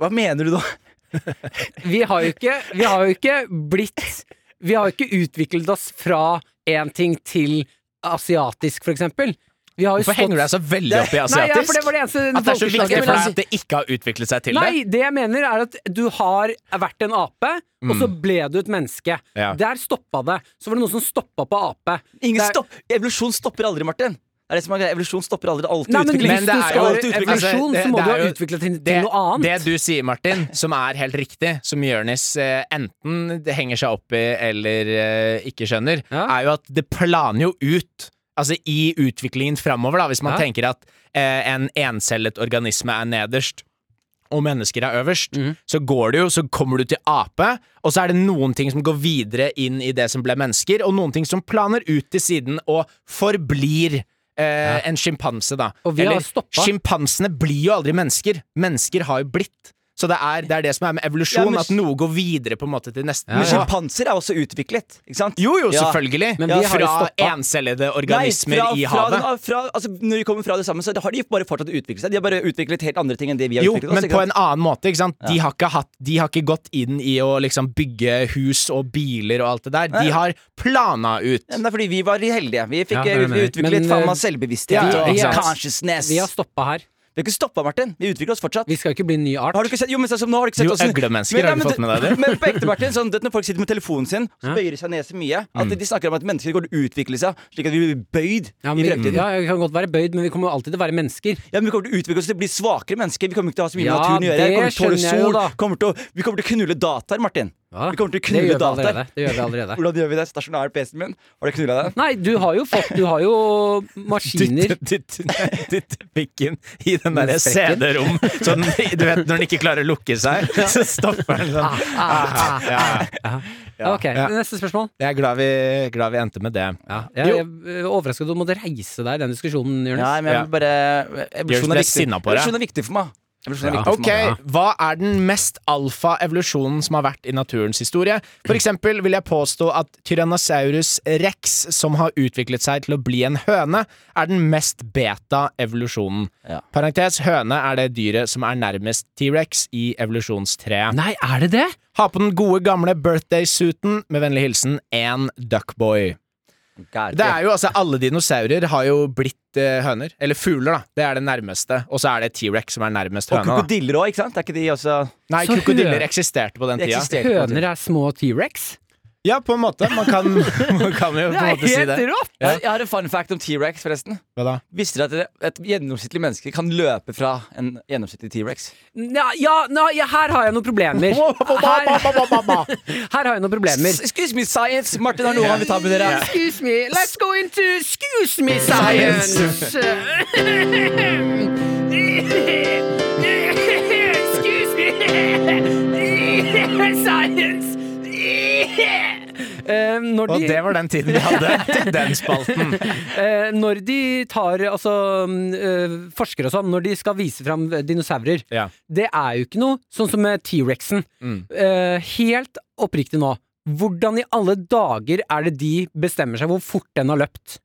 [SPEAKER 5] Hva mener du da?
[SPEAKER 4] Vi har jo ikke, vi har jo ikke blitt Vi har jo ikke utviklet oss fra én ting til asiatisk, for eksempel. Vi har jo
[SPEAKER 3] Hvorfor henger du deg så veldig opp i
[SPEAKER 4] Nei, ja,
[SPEAKER 3] asiatisk?
[SPEAKER 4] for det var det eneste
[SPEAKER 3] At det er så viktig
[SPEAKER 4] folkeslaget-
[SPEAKER 3] for deg at det ikke har utviklet seg til
[SPEAKER 4] Nei, det jeg mener er at du har vært en ape, og så ble du et menneske.
[SPEAKER 3] Mm. Ja.
[SPEAKER 4] Der stoppa det. Så var det noen som stoppa på ape.
[SPEAKER 5] [laughs] Ingen
[SPEAKER 4] Det er-
[SPEAKER 5] stopp. Evolusjon stopper aldri, Martin. Det er det som er greia. Evolusjon stopper aldri. Alt
[SPEAKER 4] Nei, men
[SPEAKER 5] utvikling.
[SPEAKER 4] hvis
[SPEAKER 3] Men det
[SPEAKER 4] du
[SPEAKER 3] er
[SPEAKER 4] skal
[SPEAKER 3] jo-
[SPEAKER 4] ha
[SPEAKER 5] Alt utvikling.
[SPEAKER 3] altså,
[SPEAKER 4] evolusjon,
[SPEAKER 3] det-
[SPEAKER 4] så må
[SPEAKER 3] det
[SPEAKER 4] du
[SPEAKER 3] er
[SPEAKER 4] ha
[SPEAKER 3] jo-
[SPEAKER 4] utviklet til,
[SPEAKER 3] det,
[SPEAKER 4] til noe annet.
[SPEAKER 3] det du sier, Martin, som er helt riktig, som Jonis eh, enten det henger seg opp i eller eh, ikke skjønner,
[SPEAKER 4] Ja.
[SPEAKER 3] er jo at det planer jo ut. Altså I utviklingen framover, da, hvis man
[SPEAKER 4] Ja.
[SPEAKER 3] tenker at eh, en encellet organisme er nederst, og mennesker er øverst, så går det jo, så kommer du til ape, og så er det noen ting som går videre inn i det som ble mennesker, og noen ting som planer ut til siden og forblir eh, en sjimpanse, da.
[SPEAKER 4] Og vi har stoppa.
[SPEAKER 3] Sjimpansene blir jo aldri mennesker. Mennesker har jo blitt. Så det er det, er det som er med evolusjon,
[SPEAKER 5] Ja, men-
[SPEAKER 3] at noe går videre på en måte til neste
[SPEAKER 5] Men
[SPEAKER 3] nivå.
[SPEAKER 5] sjimpanser er også utviklet, ikke sant?
[SPEAKER 3] Jo, jo,
[SPEAKER 5] Ja.
[SPEAKER 3] selvfølgelig.
[SPEAKER 4] Men vi har jo
[SPEAKER 3] fra
[SPEAKER 4] stoppa.
[SPEAKER 3] encellede
[SPEAKER 5] Nei,
[SPEAKER 3] organismer
[SPEAKER 5] fra,
[SPEAKER 3] i
[SPEAKER 5] fra,
[SPEAKER 3] havet.
[SPEAKER 5] den- fra, altså, når de kommer fra det samme, så har de bare fortsatt å utvikle seg. De har bare utviklet helt andre ting enn det vi har
[SPEAKER 3] Jo,
[SPEAKER 5] utviklet.
[SPEAKER 3] men
[SPEAKER 5] ikke
[SPEAKER 3] på
[SPEAKER 5] sant?
[SPEAKER 3] en annen måte. Ikke sant? De, har ikke hatt, de har ikke gått inn i å liksom bygge hus og biler og alt det der.
[SPEAKER 5] Nei.
[SPEAKER 3] De har plana ut.
[SPEAKER 5] Ja, men det er fordi vi var heldige. Vi
[SPEAKER 4] Ja,
[SPEAKER 5] fikk
[SPEAKER 4] det er
[SPEAKER 5] eh, vi
[SPEAKER 4] det.
[SPEAKER 5] utviklet
[SPEAKER 4] Men,
[SPEAKER 5] faen
[SPEAKER 4] eh,
[SPEAKER 5] meg selvbevissthet
[SPEAKER 3] vi-
[SPEAKER 5] og
[SPEAKER 3] vi
[SPEAKER 5] ikke sant?
[SPEAKER 4] har-
[SPEAKER 5] consciousness.
[SPEAKER 4] Vi
[SPEAKER 5] Vi
[SPEAKER 4] har
[SPEAKER 5] har
[SPEAKER 4] stoppa her.
[SPEAKER 5] ikke stoppa, Martin. Vi utvikler oss fortsatt.
[SPEAKER 4] Vi skal jo ikke bli en ny art.
[SPEAKER 5] Har du ikke sett, jo, men sånn som nå har du ikke sett
[SPEAKER 3] Jo,
[SPEAKER 5] hvordan-
[SPEAKER 3] øglemennesker
[SPEAKER 5] Men-
[SPEAKER 3] har du
[SPEAKER 5] nei, men
[SPEAKER 3] fått med deg det.
[SPEAKER 5] Men på ekte, Martin, sånn, det, når folk sitter med telefonen sin, så
[SPEAKER 4] Ja.
[SPEAKER 5] bøyer de seg ned så mye at
[SPEAKER 3] Mm.
[SPEAKER 5] de snakker om at mennesker går til å utvikle seg, slik at vi blir bøyd
[SPEAKER 4] ja,
[SPEAKER 5] i
[SPEAKER 4] men, vi-
[SPEAKER 5] fremtiden. Ja.
[SPEAKER 4] ja, vi kan godt være bøyd, men vi kommer jo alltid til å være mennesker.
[SPEAKER 5] men Vi kommer til å utvikle oss til å bli svakere mennesker. Vi kommer ikke til å ha så mye med
[SPEAKER 4] Ja,
[SPEAKER 5] naturen å gjøre. Vi
[SPEAKER 4] det
[SPEAKER 5] kommer til å tåle
[SPEAKER 4] skjønner jeg jo
[SPEAKER 5] sol.
[SPEAKER 4] da.
[SPEAKER 5] Kommer til å, vi kommer til å knulle dataer, Martin.
[SPEAKER 4] Ja,
[SPEAKER 5] Vi kommer til
[SPEAKER 4] det
[SPEAKER 5] å knulle
[SPEAKER 4] gjør vi
[SPEAKER 5] dataer.
[SPEAKER 4] allerede. Det gjør vi allerede.
[SPEAKER 5] Hvordan gjør vi det? Stasjonær PC-en min. Har du
[SPEAKER 4] [laughs]
[SPEAKER 5] knulla den?
[SPEAKER 4] Nei, du har jo fått Du har jo
[SPEAKER 5] [laughs]
[SPEAKER 4] maskiner
[SPEAKER 3] Dytte- Dytte dytte pikken i den derre
[SPEAKER 4] sprekken.
[SPEAKER 3] CD-rom. Så den, du vet når den ikke klarer å lukke seg,
[SPEAKER 4] [laughs]
[SPEAKER 3] så stopper den sånn.
[SPEAKER 4] ah,
[SPEAKER 3] Ja,
[SPEAKER 4] Ja, Ok,
[SPEAKER 3] Ja.
[SPEAKER 4] neste spørsmål.
[SPEAKER 3] jeg er glad vi, glad vi endte med det.
[SPEAKER 4] Ja, jeg, jeg er overrasket at du måtte reise deg i den diskusjonen, Jonis.
[SPEAKER 5] Nei, men jeg vil bare Evolusjon
[SPEAKER 3] ble
[SPEAKER 5] er viktig.
[SPEAKER 3] sinna på deg.
[SPEAKER 5] Evolusjon er viktig for meg. Evolusjon er
[SPEAKER 4] Ja.
[SPEAKER 5] viktig for
[SPEAKER 3] Ok,
[SPEAKER 5] meg.
[SPEAKER 3] Hva er den mest alfa evolusjonen som har vært i naturens historie? For eksempel vil jeg påstå at Tyrannosaurus rex, som har utviklet seg til å bli en høne, er den mest beta evolusjonen.
[SPEAKER 5] Ja.
[SPEAKER 3] Parentes høne er det dyret som er nærmest T-rex i evolusjonstreet.
[SPEAKER 4] Nei, er det det?
[SPEAKER 3] Ha på den gode gamle birthday-suiten. Med vennlig hilsen én duckboy.
[SPEAKER 5] God,
[SPEAKER 3] Det er jo altså Alle dinosaurer har jo blitt eh, høner. Eller fugler, da. Det er det nærmeste. Og så er det T-rex som er nærmest
[SPEAKER 5] Og
[SPEAKER 3] høna. da.
[SPEAKER 5] krokodiller òg, ikke sant? Er ikke de også
[SPEAKER 3] Nei,
[SPEAKER 4] Så
[SPEAKER 3] krokodiller
[SPEAKER 4] hø-
[SPEAKER 3] eksisterte på den
[SPEAKER 5] De
[SPEAKER 3] tida.
[SPEAKER 5] eksisterte.
[SPEAKER 4] Høner er små T-rex?
[SPEAKER 3] Ja, på en måte. Man kan, [laughs] man kan jo på en måte si det.
[SPEAKER 4] rått!
[SPEAKER 5] Jeg- Jeg har en fun fact om T-rex, forresten.
[SPEAKER 3] Hva da?
[SPEAKER 5] Visste dere at dere- et gjennomsnittlig menneske kan løpe fra en gjennomsnittlig T-rex?
[SPEAKER 4] Ja, ja, nei, ja, her har jeg noen problemer. Her, her har jeg noen problemer.
[SPEAKER 5] S- Excuse me, science! Martin har noe han vil ta med dere.
[SPEAKER 4] Excuse me, let's go into excuse me science. excuse me science. Eh, når,
[SPEAKER 3] Og
[SPEAKER 4] de,
[SPEAKER 3] det var den tiden vi hadde til
[SPEAKER 4] [laughs]
[SPEAKER 3] den spalten.
[SPEAKER 4] eh, når de tar altså, mm, eh, forskere og sånn, når de skal vise fram dinosaurer,
[SPEAKER 3] Ja. Mm.
[SPEAKER 4] det er jo ikke noe sånn som med T-rexen. Eh, helt oppriktig nå. Hvordan i alle dager er det de bestemmer seg hvor fort den har løpt?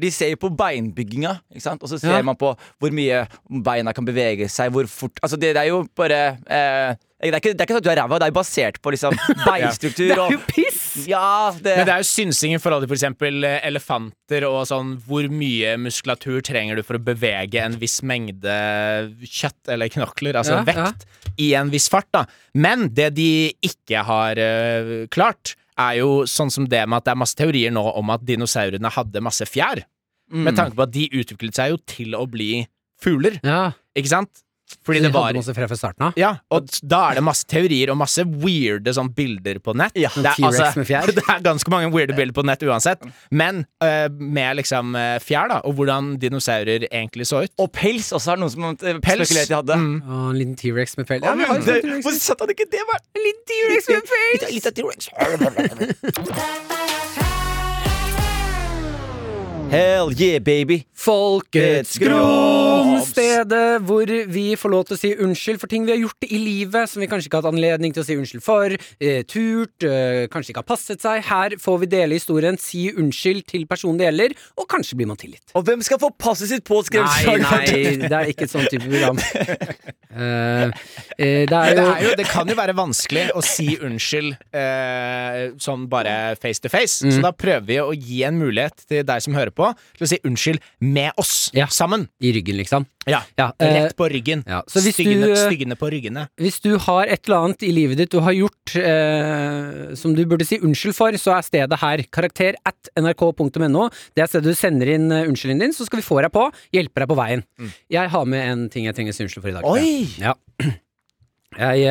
[SPEAKER 5] De ser jo på beinbygginga, ikke sant? og så ser
[SPEAKER 4] Ja.
[SPEAKER 5] man på hvor mye beina kan bevege seg, hvor fort Altså, det, det er jo bare eh, det, er ikke, det er ikke sånn at du er ræva, det er basert på liksom
[SPEAKER 4] Det
[SPEAKER 5] beinstruktur
[SPEAKER 4] er
[SPEAKER 5] og
[SPEAKER 4] jo piss!
[SPEAKER 5] Ja, det,
[SPEAKER 3] Men det er jo synsing i forhold til for eksempel eh, elefanter og sånn Hvor mye muskulatur trenger du for å bevege en viss mengde kjøtt eller knokler, altså
[SPEAKER 4] Ja,
[SPEAKER 3] vekt, i en viss fart, da. Men det de ikke har eh, klart, er jo sånn som det med at det er masse teorier nå om at dinosaurene hadde masse fjær.
[SPEAKER 4] Mm.
[SPEAKER 3] Med tanke på at de utviklet seg jo til å bli fugler,
[SPEAKER 4] Ja,
[SPEAKER 3] ikke sant? Fordi
[SPEAKER 4] de
[SPEAKER 3] det var
[SPEAKER 4] hadde masse fra fra starten av.
[SPEAKER 3] ja, og t- da er det masse teorier og masse weirde sånn bilder på nett. det, er, altså,
[SPEAKER 4] T-rex med
[SPEAKER 3] [laughs]
[SPEAKER 4] fjær.
[SPEAKER 3] det er ganske mange weirde bilder på nett uansett, men eh, med liksom eh, fjær, da, og hvordan dinosaurer egentlig så ut.
[SPEAKER 5] Og pels også, er det noen som eh,
[SPEAKER 3] Pels.
[SPEAKER 5] spekulerte i hadde.
[SPEAKER 4] Å, en liten T-rex med pels.
[SPEAKER 5] Ja,
[SPEAKER 4] Mm. Ja, vi
[SPEAKER 5] men
[SPEAKER 4] har jo
[SPEAKER 5] det-
[SPEAKER 4] sånn T-rex.
[SPEAKER 5] Hvor søtt hadde ikke det vært?
[SPEAKER 4] En liten T-rex med pels!
[SPEAKER 5] Litt
[SPEAKER 4] [laughs]
[SPEAKER 5] av T-rex. Hell yeah, baby.
[SPEAKER 4] Folkets Grom! Stedet hvor vi får lov til å si unnskyld for ting vi har gjort i livet som vi kanskje ikke har hatt anledning til å si unnskyld for. Eh, turt, eh, kanskje ikke har passet seg. Her får vi dele historien, si unnskyld til personen det gjelder, og kanskje blir man tilgitt.
[SPEAKER 5] Og hvem skal få passet sitt
[SPEAKER 4] Nei,
[SPEAKER 5] påskrevet?
[SPEAKER 4] nei, det er ikke et sånt
[SPEAKER 3] [laughs]
[SPEAKER 4] type program. Eh, eh, det
[SPEAKER 3] Men
[SPEAKER 4] er
[SPEAKER 3] det,
[SPEAKER 4] jo
[SPEAKER 3] er jo, det kan jo være vanskelig å si unnskyld eh,
[SPEAKER 4] Mm.
[SPEAKER 3] sånn bare face to face, så da prøver vi å gi en mulighet til deg som hører på, til å si unnskyld med oss
[SPEAKER 4] Ja.
[SPEAKER 3] sammen.
[SPEAKER 4] I ryggen, liksom.
[SPEAKER 3] Ja.
[SPEAKER 4] Ja, eh,
[SPEAKER 3] Rett på ryggen.
[SPEAKER 4] ja. Så hvis
[SPEAKER 3] styggene,
[SPEAKER 4] du, eh,
[SPEAKER 3] styggene på ryggene.
[SPEAKER 4] Hvis du har et eller annet i livet ditt du har gjort eh, som du burde si unnskyld for, så er stedet her. Karakter at nrk.no. Det er stedet du sender inn eh, unnskylden din, så skal vi få deg på. Hjelpe deg på veien. Jeg har med en ting jeg trenger å si unnskyld for i dag.
[SPEAKER 3] Oi!
[SPEAKER 4] Ja. [clears throat] Jeg,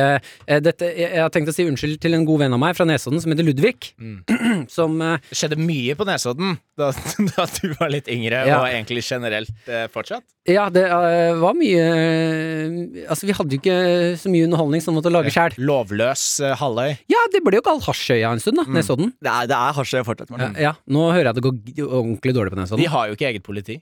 [SPEAKER 4] eh, dette, jeg, jeg har tenkt å si unnskyld til en god venn av meg fra Nesodden som heter Ludvig. [clears throat] Som eh,
[SPEAKER 3] Det skjedde mye på Nesodden da, [laughs] da du var litt yngre,
[SPEAKER 4] Ja.
[SPEAKER 3] og egentlig generelt eh, fortsatt.
[SPEAKER 4] Ja, det eh, var mye eh, Altså, vi hadde jo ikke så mye underholdning som vi måtte lage sjæl.
[SPEAKER 3] Lovløs eh, halvøy.
[SPEAKER 4] Ja, det ble jo kalt Hasjøya en stund, da. Nesodden.
[SPEAKER 5] Det er, det er hasjøya fortsatt.
[SPEAKER 4] Ja,
[SPEAKER 5] Morten.
[SPEAKER 4] ja, nå hører jeg det går g- ordentlig dårlig på
[SPEAKER 3] De
[SPEAKER 4] Nesodden.
[SPEAKER 3] har jo ikke eget politi.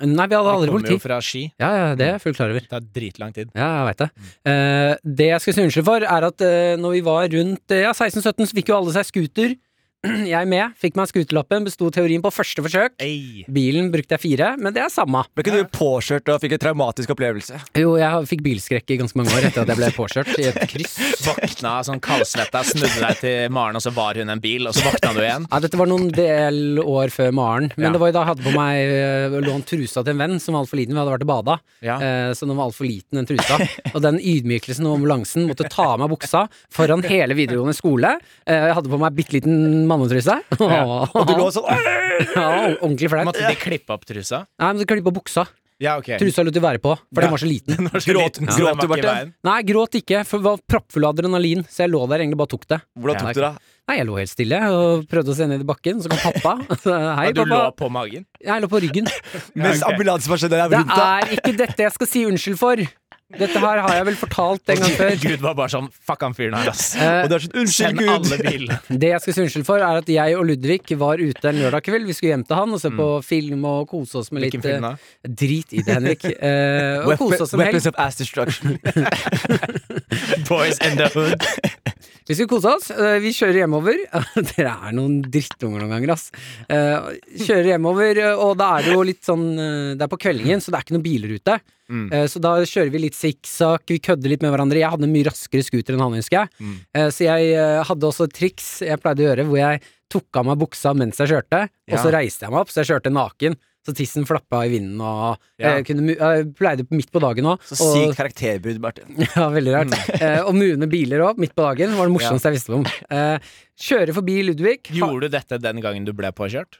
[SPEAKER 4] Nei, vi hadde
[SPEAKER 3] De
[SPEAKER 4] aldri
[SPEAKER 3] kommer
[SPEAKER 4] politi.
[SPEAKER 3] jo fra Ski.
[SPEAKER 4] Ja, ja, det er jeg fullt klar over.
[SPEAKER 3] Det tar dritlang tid.
[SPEAKER 4] Ja, jeg veit det.
[SPEAKER 3] Mm.
[SPEAKER 4] Eh, det jeg skal si unnskyld for, er at eh, når vi var rundt eh, ja, 16-17, så fikk jo alle seg scooter. [clears throat] Jeg med. Fikk meg scooterlappen, besto teorien på første forsøk.
[SPEAKER 3] Ei.
[SPEAKER 4] Bilen brukte jeg fire, men det er samme.
[SPEAKER 5] Ble ikke du påkjørt og fikk en traumatisk opplevelse?
[SPEAKER 4] Jo, jeg fikk bilskrekk i ganske mange år etter at jeg ble påkjørt i et kryss.
[SPEAKER 3] Våkna sånn kaldsvetta, snudde deg til Maren, og så var hun en bil, og så våkna du igjen.
[SPEAKER 4] Ja, dette var noen del år før Maren, men
[SPEAKER 3] Ja.
[SPEAKER 4] det var jo da jeg hadde på meg eh, lånt trusa til en venn som var altfor liten. Vi hadde vært og bada,
[SPEAKER 3] Ja.
[SPEAKER 4] eh, så den var altfor liten, den trusa. Og den ydmykelsen og ambulansen måtte ta av meg buksa foran hele videregående skole. Eh, Jeg hadde på meg bitte liten mannetruse.
[SPEAKER 5] Og du lå sånn
[SPEAKER 4] Ja, ordentlig flaut.
[SPEAKER 3] Måtte de klippe opp trusa?
[SPEAKER 4] Nei, men så klipp på buksa.
[SPEAKER 3] Ja, ok.
[SPEAKER 4] Trusa lot du være på, for den var så liten.
[SPEAKER 3] Den var så
[SPEAKER 5] Gråt-
[SPEAKER 3] liten,
[SPEAKER 5] Ja.
[SPEAKER 3] så den
[SPEAKER 5] gråt du,
[SPEAKER 3] var ikke i
[SPEAKER 5] Barte?
[SPEAKER 3] veien.
[SPEAKER 4] Nei, gråt ikke, for jeg var proppfull av adrenalin, så jeg lå der egentlig bare tok det.
[SPEAKER 5] Hvordan tok du det?
[SPEAKER 4] Nei, jeg lå helt stille og prøvde å se ned i bakken, så kom pappa. [laughs] Hei,
[SPEAKER 3] Og du lå
[SPEAKER 4] pappa.
[SPEAKER 3] på magen?
[SPEAKER 4] Jeg lå på ryggen.
[SPEAKER 5] Mens
[SPEAKER 3] Ja, ok.
[SPEAKER 5] ambulansepersonellet sånn, er
[SPEAKER 4] Det
[SPEAKER 5] rundt deg?
[SPEAKER 4] er ikke dette jeg skal si unnskyld for. Dette her har jeg vel fortalt
[SPEAKER 3] [laughs]
[SPEAKER 4] en gang før.
[SPEAKER 3] Gud var bare sånn Fuck han fyren her, ass.
[SPEAKER 4] Eh,
[SPEAKER 5] Og du er sånn Unnskyld,
[SPEAKER 3] Send alle
[SPEAKER 5] Gud!
[SPEAKER 3] bilene.
[SPEAKER 4] Det jeg skal si unnskyld for, er at jeg og Ludvig var ute en lørdag kveld. Vi skulle hjem til han og se på film og kose oss med litt
[SPEAKER 3] Mm. Hvilken film da?
[SPEAKER 4] eh, Drit i det, Henrik. Eh, og kose oss som helg.
[SPEAKER 5] Weapons of ass destruction.
[SPEAKER 3] [laughs]
[SPEAKER 5] [laughs]
[SPEAKER 3] Boys in the hood.
[SPEAKER 4] Vi skulle kose oss. Eh, Vi kjører hjemover. [laughs] Dere er noen drittunger noen ganger, ass. Eh, Kjører hjemover, eh, og da er det jo litt sånn eh, Det er på kveldingen, så det er ikke noen biler ute.
[SPEAKER 5] Mm.
[SPEAKER 4] Eh, Så da kjører vi litt sikksakk, vi kødder litt med hverandre. Jeg hadde en mye raskere scooter enn han, husker jeg.
[SPEAKER 5] Mm.
[SPEAKER 4] Eh, Så jeg eh, hadde også et triks jeg pleide å gjøre, hvor jeg tok av meg buksa mens jeg kjørte, og så reiste jeg meg opp, så jeg kjørte naken. Så tissen flappa i vinden og
[SPEAKER 3] Ja.
[SPEAKER 4] jeg kunne, mu- jeg pleide midt på dagen òg.
[SPEAKER 5] Så sykt karakterbrudd, Martin.
[SPEAKER 4] [laughs] Ja, veldig rart.
[SPEAKER 3] Mm.
[SPEAKER 4] Eh, og mune biler òg, midt på dagen. var det morsomste jeg visste om. Eh, kjører forbi Ludvig. Ha-
[SPEAKER 3] Gjorde du dette den gangen du ble påkjørt?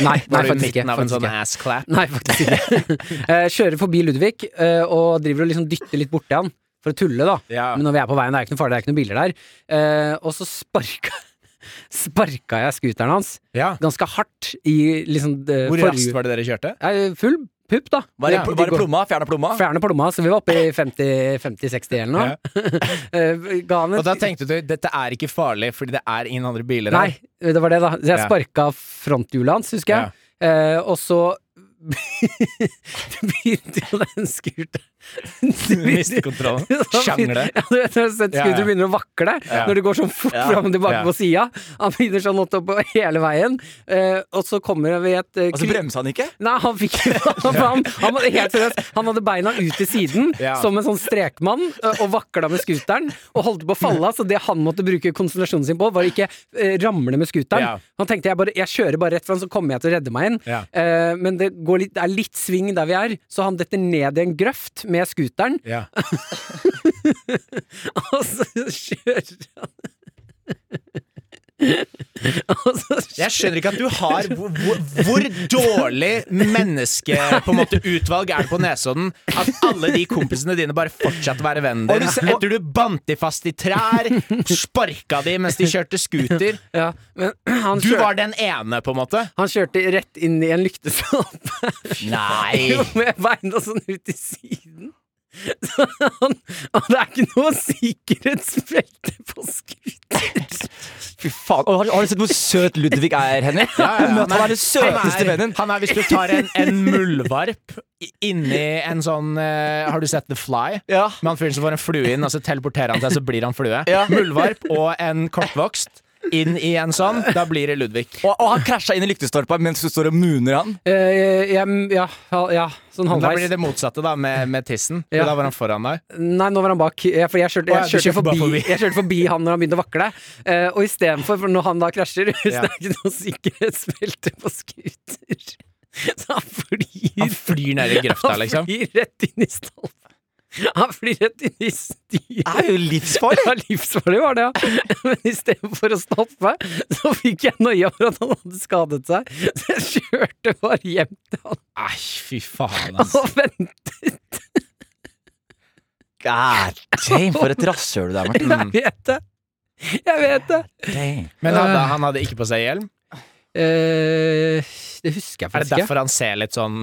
[SPEAKER 4] Nei, nei
[SPEAKER 3] Var du i
[SPEAKER 4] faktisk
[SPEAKER 3] midten
[SPEAKER 4] ikke.
[SPEAKER 3] av en
[SPEAKER 4] Faktisk
[SPEAKER 3] sånn
[SPEAKER 4] ikke.
[SPEAKER 3] ass clap?
[SPEAKER 4] Nei, faktisk ikke.
[SPEAKER 3] [laughs]
[SPEAKER 4] eh, kjører forbi Ludvig eh, og driver og liksom dytter litt borti han for å tulle, da.
[SPEAKER 3] Ja.
[SPEAKER 4] Men når vi er på veien, det er ikke noe farlig, det er ikke noen biler der. Eh, og så sparka, [laughs] sparka jeg scooteren hans
[SPEAKER 3] Ja.
[SPEAKER 4] ganske hardt i liksom det
[SPEAKER 3] Hvor raskt
[SPEAKER 4] forrige
[SPEAKER 3] var det dere kjørte?
[SPEAKER 4] Eh, Full pupp, da.
[SPEAKER 5] Var det,
[SPEAKER 4] Ja.
[SPEAKER 5] var det plomma? Fjerna plomma?
[SPEAKER 4] Fjerne plomma, så vi var oppe i 50 50-60 eller noe. [laughs] Eh, Ga han
[SPEAKER 3] Og
[SPEAKER 4] et
[SPEAKER 3] da tenkte du dette er ikke farlig, fordi det er ingen andre biler her. [laughs]
[SPEAKER 4] Nei, det var det, da. Så jeg
[SPEAKER 3] Ja.
[SPEAKER 4] sparka fronthjulet hans, husker jeg. Eh, og så [laughs] begynte jo den scooteren
[SPEAKER 3] [laughs] Du mistet
[SPEAKER 4] [laughs]
[SPEAKER 3] kontrollen. Sjangle.
[SPEAKER 4] Ja, du vet, når du har sett
[SPEAKER 3] Ja, ja.
[SPEAKER 4] scooter begynner å vakle
[SPEAKER 3] Ja.
[SPEAKER 4] når det går sånn fort
[SPEAKER 5] Ja.
[SPEAKER 4] fram og tilbake
[SPEAKER 3] Ja.
[SPEAKER 4] på sida. Han begynner sånn oppover hele veien, eh, og så kommer vi et eh,
[SPEAKER 5] Og så
[SPEAKER 4] kry-
[SPEAKER 5] bremsa han ikke?
[SPEAKER 4] Nei, han fikk [laughs] han, han, han, var helt seriøst, han hadde beina ut til siden
[SPEAKER 3] Ja.
[SPEAKER 4] som en sånn strekmann ø, og vakla med scooteren og holdt på å falle av. Så det han måtte bruke konsentrasjonen sin på, var å ikke eh, ramle med scooteren.
[SPEAKER 3] Ja.
[SPEAKER 4] Han tenkte jeg, bare, jeg kjører bare rett fram, så kommer jeg til å redde meg inn.
[SPEAKER 3] Ja.
[SPEAKER 4] Eh, men det, går litt, det er litt sving der vi er, så han detter ned i en grøft med
[SPEAKER 3] [laughs]
[SPEAKER 4] scooteren,
[SPEAKER 3] Ja.
[SPEAKER 4] og så kjører han [laughs] Og så kjører
[SPEAKER 3] Jeg skjønner ikke at du har Hvor, hvor, hvor dårlig menneske På en måte utvalg er det på Nesodden at alle de kompisene dine bare fortsatte å være vennen din? Etter du bandt de fast i trær, sparka de mens de kjørte scooter.
[SPEAKER 4] ja, men [clears throat] han,
[SPEAKER 3] Du
[SPEAKER 4] kjør,
[SPEAKER 3] var den ene, på en måte.
[SPEAKER 4] han kjørte rett inn i en lyktestolpe.
[SPEAKER 3] Nei!
[SPEAKER 4] [laughs] Jo, med beina sånn ut til siden. Så han, og det er ikke noe sikkerhetsbelte på skuter.
[SPEAKER 5] Fy faen. Og har, har du sett hvor søt Ludvig er, Henrik? Men at Han er den søteste vennen.
[SPEAKER 3] Han er hvis du tar en, en muldvarp i- inni en sånn eh, Har du sett The Fly?
[SPEAKER 5] Ja.
[SPEAKER 3] Med han fyren som får en flue inn, og så teleporterer han seg, så blir han flue.
[SPEAKER 5] Ja.
[SPEAKER 3] Muldvarp og en kortvokst inn i en sånn. Da blir det Ludvig.
[SPEAKER 5] Og, og han krasja inn i lyktestolpa mens du står og muner han.
[SPEAKER 4] ja, Eh, ja, ja, sånn
[SPEAKER 3] Men Da blir
[SPEAKER 4] halvveis.
[SPEAKER 3] det motsatte, da, med, med tissen.
[SPEAKER 4] Ja.
[SPEAKER 3] For Da var han foran deg.
[SPEAKER 4] Nei, nå var han bak. Ja, fordi jeg kjørte,
[SPEAKER 3] Å, ja,
[SPEAKER 4] jeg,
[SPEAKER 3] du
[SPEAKER 4] kjørte
[SPEAKER 3] kjørte bare
[SPEAKER 4] forbi,
[SPEAKER 3] forbi.
[SPEAKER 4] jeg kjørte forbi han når han begynte å vakle. Eh, og istedenfor, for når han da krasjer, [laughs] så
[SPEAKER 3] Ja.
[SPEAKER 4] er det ikke noe sikkerhetsbelte på skuter. [laughs] Så han flyr
[SPEAKER 3] Han flyr ned i grøfta, liksom.
[SPEAKER 4] Han flyr rett inn i stolpen. Han flyr rett inn i styret.
[SPEAKER 5] er jo livsfarlig!
[SPEAKER 4] Ja, livsfarlig var det, ja. Men istedenfor å stoppe, så fikk jeg noia for at han hadde skadet seg. Så jeg kjørte bare hjem til han
[SPEAKER 3] Æsj, fy faen, altså.
[SPEAKER 4] og ventet.
[SPEAKER 5] God damn, for et rasshøl du er, Martin.
[SPEAKER 4] Jeg vet det. Jeg vet det.
[SPEAKER 5] Damn.
[SPEAKER 3] Men hadde, han hadde ikke på seg hjelm?
[SPEAKER 4] Eh, det husker
[SPEAKER 3] Er
[SPEAKER 4] jeg
[SPEAKER 3] det
[SPEAKER 4] faktisk ikke.
[SPEAKER 3] derfor han ser litt
[SPEAKER 4] [laughs]
[SPEAKER 3] sånn